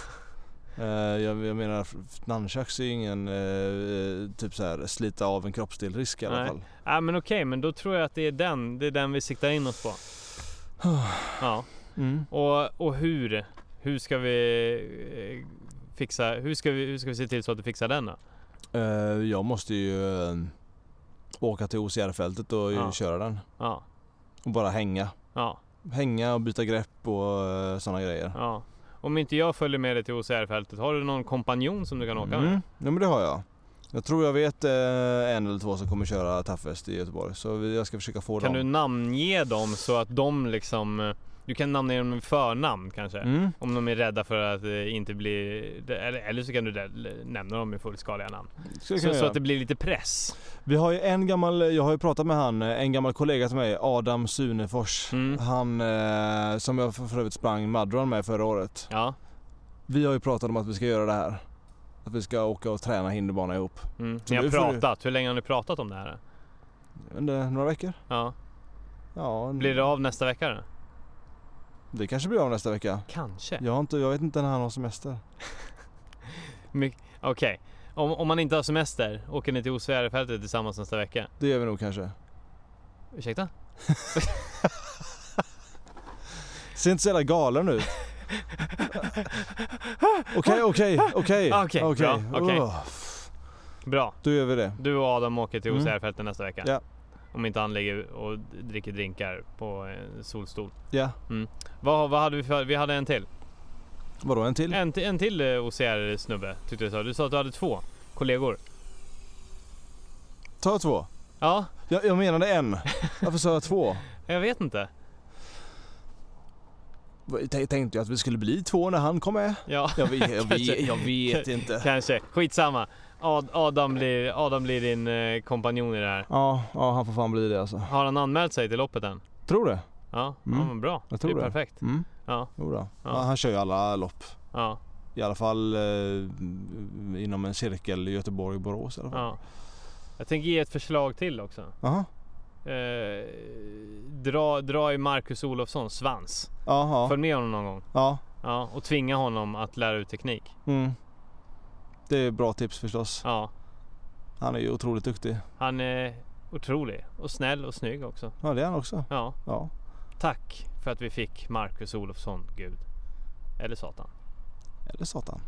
B: Eh, jag, jag menar, f- f- nunchucks är ju ingen eh, typ så här slita av en kroppsdel risk i alla
A: Nej.
B: fall.
A: Ja men okej, men då tror jag att det är den, det är den vi siktar in oss på. Ja.
B: Mm.
A: Och, och hur? Hur ska vi eh, fixa, hur ska vi, hur ska vi se till så att du fixar den då?
B: Eh, jag måste ju eh, åka till OCR-fältet och
A: Ja.
B: köra den.
A: Ja.
B: Och bara hänga.
A: Ja.
B: Hänga och byta grepp och eh, sådana grejer.
A: Ja. Om inte jag följer med dig till OCR-fältet, har du någon kompanjon som du kan åka med?
B: Mm. Ja men det har jag. Jag tror jag vet eh, en eller två som kommer köra Toughest i Göteborg. Så vi- jag ska försöka få
A: Kan du
B: dem.
A: namnge dem så att de liksom... eh, Du kan namnge dem med förnamn kanske?
B: Mm.
A: Om de är rädda för att eh, inte bli... eh, Eller, eller så kan du där- nämna dem med fullskaliga namn.
B: Skulle
A: Så,
B: kunna
A: så
B: göra.
A: att det blir lite press.
B: Vi har ju en gammal, jag har ju pratat med han, eh, en gammal kollega till mig, Adam Sunefors.
A: Mm.
B: Han eh, som jag för för övrigt sprang Madron med förra året.
A: Ja.
B: Vi har ju pratat om att vi ska göra det här. Att vi ska åka och träna hinderbana ihop.
A: Mm.
B: Så
A: Ni har
B: nu får du-
A: pratat. Hur länge har ni pratat om det här?
B: Jag vet inte, några veckor?
A: Ja.
B: Ja,
A: Blir det av nästa vecka då?
B: det kanske blir av nästa vecka.
A: Kanske.
B: Jag, har inte, jag vet inte när han har semester.
A: My- Okej. Om, om man inte har semester, åker ni till OCR-fältet tillsammans nästa vecka?
B: Det gör vi nog kanske.
A: Ursäkta?
B: Ser inte så jävla galen ut. Okej, okej, okej.
A: Ah, Okej, bra, okej.
B: Åh,
A: Bra.
B: Då gör vi det.
A: Du och Adam åker till
B: Mm.
A: OCR-fältet nästa vecka?
B: Ja.
A: Om inte han ligger och dricker drinkar på eh, en solstol.
B: Ja,
A: Vad, vad hade vi för... Vi hade en till.
B: vadå en till?
A: En, till- en till eh, OCR-snubbe tyckte jag sa. Du sa att du hade två kollegor.
B: Ta två.
A: Ja,
B: Jag, jag menade en. Varför sa jag två?
A: jag vet inte.
B: Vad- tän- Tänkte jag att vi skulle bli två när han kom med?
A: Ja,
B: Jag vet, jag
A: Kanske.
B: vet, jag vet inte.
A: kanske. Skitsamma. Ad, Adam, blir, Adam blir din eh, kompanjon i det här.
B: Ja, ja, han får fan bli det alltså.
A: Har han anmält sig till loppet än?
B: Tror det.
A: Ja,
B: Mm.
A: ja men bra.
B: Jag tror
A: det är
B: det.
A: perfekt.
B: Mm.
A: Ja,
B: Jo då.
A: Ja.
B: Ja, han kör ju alla lopp.
A: ja,
B: I alla fall eh, inom en cirkel Göteborg-Borås i alla fall.
A: ja. Jag tänker ge ett förslag till också.
B: Jaha.
A: Eh, dra, dra i Marcus Olofssons svans.
B: Ja, ja.
A: Följ med honom någon gång.
B: ja.
A: Ja, och tvinga honom att lära ut teknik.
B: Mm. Det är bra tips förstås.
A: Ja,
B: Han är ju otroligt duktig.
A: han är otrolig och snäll och snygg också.
B: Ja det är han också.
A: Ja,
B: Ja.
A: tack för att vi fick Marcus Olofsson, Gud. Eller Satan.
B: Eller satan.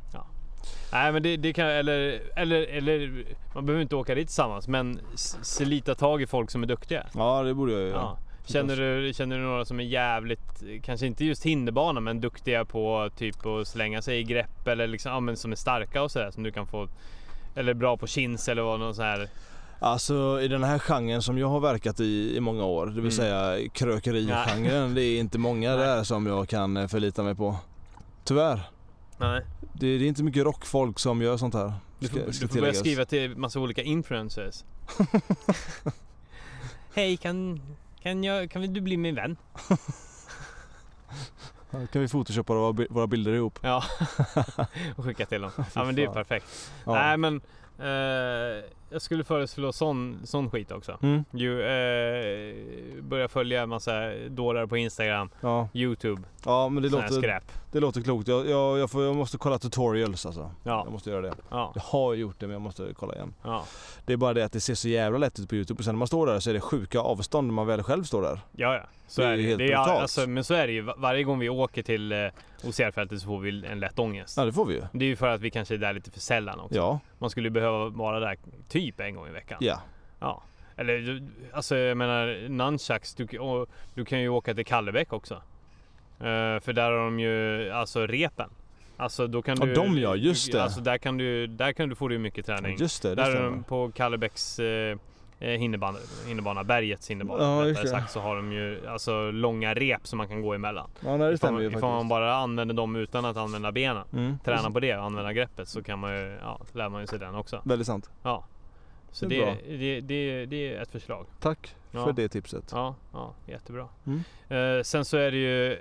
A: Nej men det, det kan, eller, eller, eller, man behöver inte åka dit tillsammans men s- slita tag i folk som är duktiga.
B: Ja det borde jag ju göra.
A: Ja. Känner, du, känner du några som är jävligt, kanske inte just hinderbana men duktiga på typ att slänga sig i grepp eller liksom, ja, men som är starka och sådär som du kan få, eller bra på chins eller vad någon sån här.
B: Alltså i den här genren som jag har verkat i i många år, det vill
A: Mm.
B: säga krökerigenren, det är inte många
A: Nej.
B: där som jag kan eh, förlita mig på. Tyvärr.
A: Nej.
B: Det, det är inte mycket rockfolk som gör sånt här.
A: Du får,
B: ska- ska
A: du får börja
B: tilläggas.
A: skriva till massa olika influencers. Hej, kan, kan, jag, kan du bli min vän?
B: Ja, Kan vi photoshoppa våra, bi- våra bilder ihop?
A: Ja, och skicka till dem. Ja men det är ju
B: fan.
A: perfekt.
B: Ja.
A: Nej men, eh, jag skulle föreslå sån, sån skit också.
B: Mm,
A: Ju, eh, börja följa en massa dårar på Instagram,
B: ja.
A: Youtube,
B: ja, men det
A: sån här
B: låter,
A: skräp.
B: det låter klokt. Jag, jag, jag, får, jag måste kolla tutorials alltså. Jag
A: Ja,
B: måste göra det.
A: ja,
B: Jag har gjort det men jag måste kolla igen.
A: ja.
B: Det är bara det att det ser så jävla lätt ut på Youtube och sen när man står där så är det sjuka avstånd när man väl själv står där.
A: Ja, ja. Så
B: Det
A: det
B: är
A: är,
B: ju
A: det.
B: helt
A: det är,
B: brutalt.
A: alltså, men så är det ju. Va- Varje gång vi åker till eh, OCR-fältet så får vi en lätt ångest.
B: Ja det får vi ju.
A: Det är ju för att vi kanske är där lite för sällan också.
B: Ja,
A: Man skulle ju behöva vara där typ en gång i veckan.
B: ja.
A: Ja. Eller du- alltså jag menar nunchucks, du, och, du kan ju åka till Kallebäck också. Eh, för där har de ju alltså repen. Alltså då kan
B: Ja,
A: du...
B: de ja, just det.
A: Alltså där kan du, där kan du få dig mycket träning.
B: Just det, det
A: där är
B: stämmer.
A: de på Kallebäcks eh, eh, hinderbana, hinderbana, bergets hinderbana
B: Ja, just
A: rättare
B: det.
A: sagt, så har de ju alltså långa rep som man kan gå emellan.
B: Ja nej, det
A: Ifall,
B: stämmer
A: man-
B: ju
A: ifall man
B: faktiskt.
A: bara använder dem utan att använda benen.
B: Mm.
A: Träna på det och använda greppet så kan man ju, ja, lär man ju sig den också.
B: Väldigt sant.
A: Ja. Så
B: Det
A: det,
B: är bra.
A: det, det, det, är ett förslag.
B: Tack
A: Ja.
B: för det tipset.
A: Ja, ja jättebra.
B: Mm.
A: Eh, sen så är det ju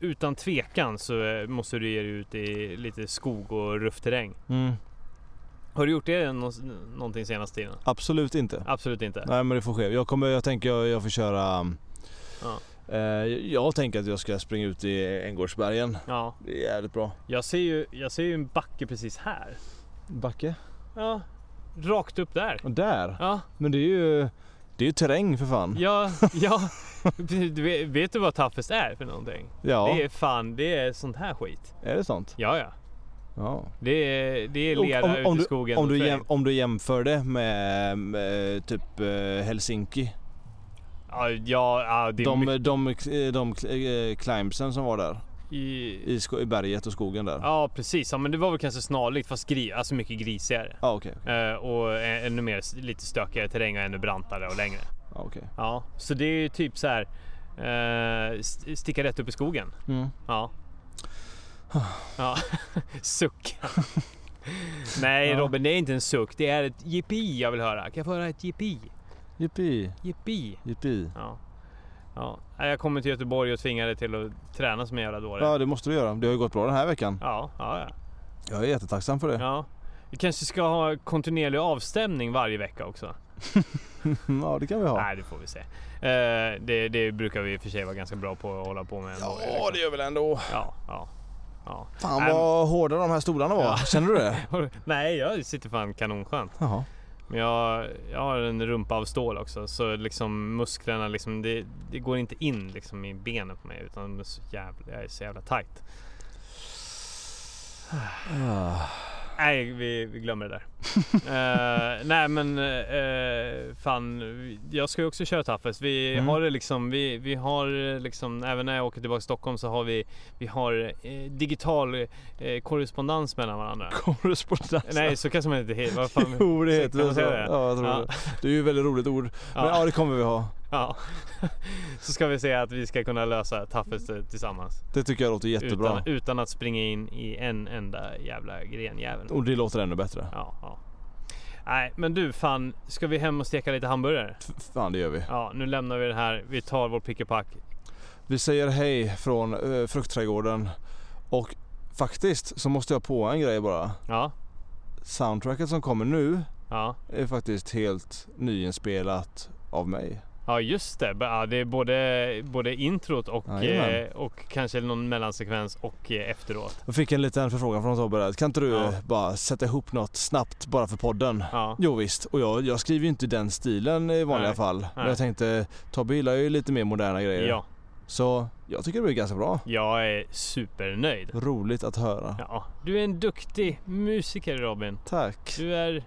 A: utan tvekan så eh, måste du ge dig ut i lite skog och ruffterräng.
B: Mm.
A: Har du gjort det nå- någonting senaste tiden?
B: Absolut inte.
A: Absolut inte.
B: Nej men det får ske. Jag, kommer, jag tänker jag, jag får köra... um,
A: Ja.
B: Eh, jag tänker att jag ska springa ut i Änggårdsbergen.
A: Ja,
B: Det är jävligt bra.
A: jag ser ju, jag ser ju en backe precis här.
B: Backe?
A: Ja, rakt upp där.
B: Och där?
A: Ja,
B: Men det är ju... Det är ju terräng för fan.
A: ja, ja. Du vet, vet du vad toughest är för någonting?
B: Ja,
A: Det är fan, det är sånt här skit.
B: är det sånt?
A: Ja, ja.
B: Ja.
A: Det är, det är
B: Och
A: lera
B: om- om
A: ute
B: du-
A: i skogen.
B: Om
A: och
B: du,
A: terräng.
B: jäm, om du jämför det med, med typ eh, Helsinki.
A: Ja, ja, ja, det är
B: De,
A: mycket.
B: de, de, eh, climbsen som var där
A: I...
B: i, sko- i berget och skogen där. Ja,
A: Ja precis, ja, men det var väl kanske snarlikt fast gri... alltså mycket grisigare.
B: ah, okej.
A: Eh, och ä- ännu mer s- lite stökigare terräng och ännu brantare och längre.
B: Ja, okej.
A: Ja, så det är ju typ så här. eh, st- sticka rätt upp i skogen.
B: Mm.
A: Ja. ja. suck. Nej
B: Ja.
A: Robin, det är inte en suck. Det är ett jippi jag vill höra. Kan jag få höra ett jippi?
B: Jippi,
A: Jippi.
B: jippi.
A: Ja. ja. Nej, Jag kommer till Göteborg och tvingar dig till att träna som en jävla dåre.
B: Ja, det måste du göra. Det har ju gått bra den här veckan.
A: Ja, ja, ja.
B: Jag är jättetacksam för det. Ja,
A: Ja. Vi kanske ska ha kontinuerlig avstämning varje vecka också?
B: Mm, ja det kan vi ha.
A: Nej, det får vi se. Eh, det, det brukar vi i och för sig vara ganska bra på att hålla på med. ändå,
B: Ja, det gör väl ändå.
A: ja, ja, ja.
B: Fan
A: Nej,
B: vad hårda de här stolarna var.
A: Ja.
B: Känner du det?
A: Nej, jag sitter fan kanonskönt.
B: Jaha.
A: Men jag, jag har en rumpa av stål också, så liksom musklerna liksom, det, det går inte in liksom i benen på mig utan de är så jävla, jag är så jävla tajt.
B: Ah.
A: Nej, vi, vi glömmer det där. Eh, nej men eh, fan, jag ska ju också köra Taffes. Vi
B: Mm.
A: har det liksom, vi, vi har eh, liksom, även när jag åker tillbaka till Stockholm så har vi, vi har eh, digital eh, korrespondens mellan varandra.
B: Korrespondens.
A: Nej, så kanske man inte heter. Vad fan?
B: Jo, det heter
A: Kan man
B: det. så.
A: säga det?
B: Ja, jag tror
A: Ja.
B: det. Det är ju ett väldigt roligt ord. Men ja,
A: Ja,
B: det kommer vi ha.
A: ja. Så ska vi se att vi ska kunna lösa Taffes eh, tillsammans.
B: Det tycker jag låter jättebra.
A: Utan, utan att springa in i en enda jävla grenjävel.
B: Och det låter ännu bättre.
A: Ja, ja. Nej, men du fan, ska vi hem och steka lite hamburgare?
B: F- Fan det gör vi.
A: Ja, nu lämnar vi det här. Vi tar vår pick och pack.
B: Vi säger hej från eh, fruktträdgården. Och faktiskt så måste jag på en grej bara.
A: Ja,
B: Soundtracket som kommer nu
A: ja.
B: är faktiskt helt nyinspelat av mig.
A: Ja just det, B- ja, det är både, både introt och,
B: Jajamän.
A: eh, och kanske någon mellansekvens och eh, efteråt.
B: Jag fick en liten förfrågan från Tobbe där. Kan inte du
A: Ja.
B: eh, bara sätta ihop något snabbt bara för podden?
A: Ja,
B: Jo visst, och jag, jag skriver ju inte den stilen i vanliga
A: Nej.
B: fall. Men
A: Nej.
B: jag tänkte, Tobbe gillar ju lite mer moderna grejer.
A: ja
B: Så jag tycker det blir ganska bra.
A: jag är supernöjd.
B: Roligt att höra.
A: Ja, du är en duktig musiker Robin.
B: Tack.
A: Du är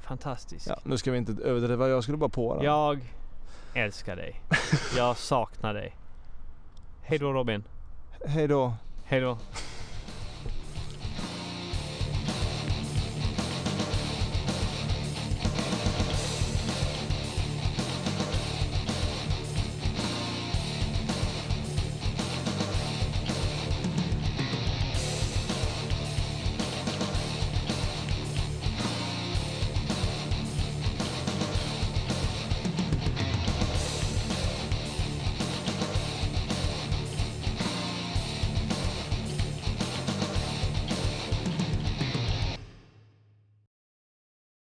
A: fantastisk.
B: Ja, nu ska vi inte överdriva, jag skulle bara på den.
A: Jag älskar dig. Jag saknar dig. Hej då Robin.
B: Hej då.
A: Hej då.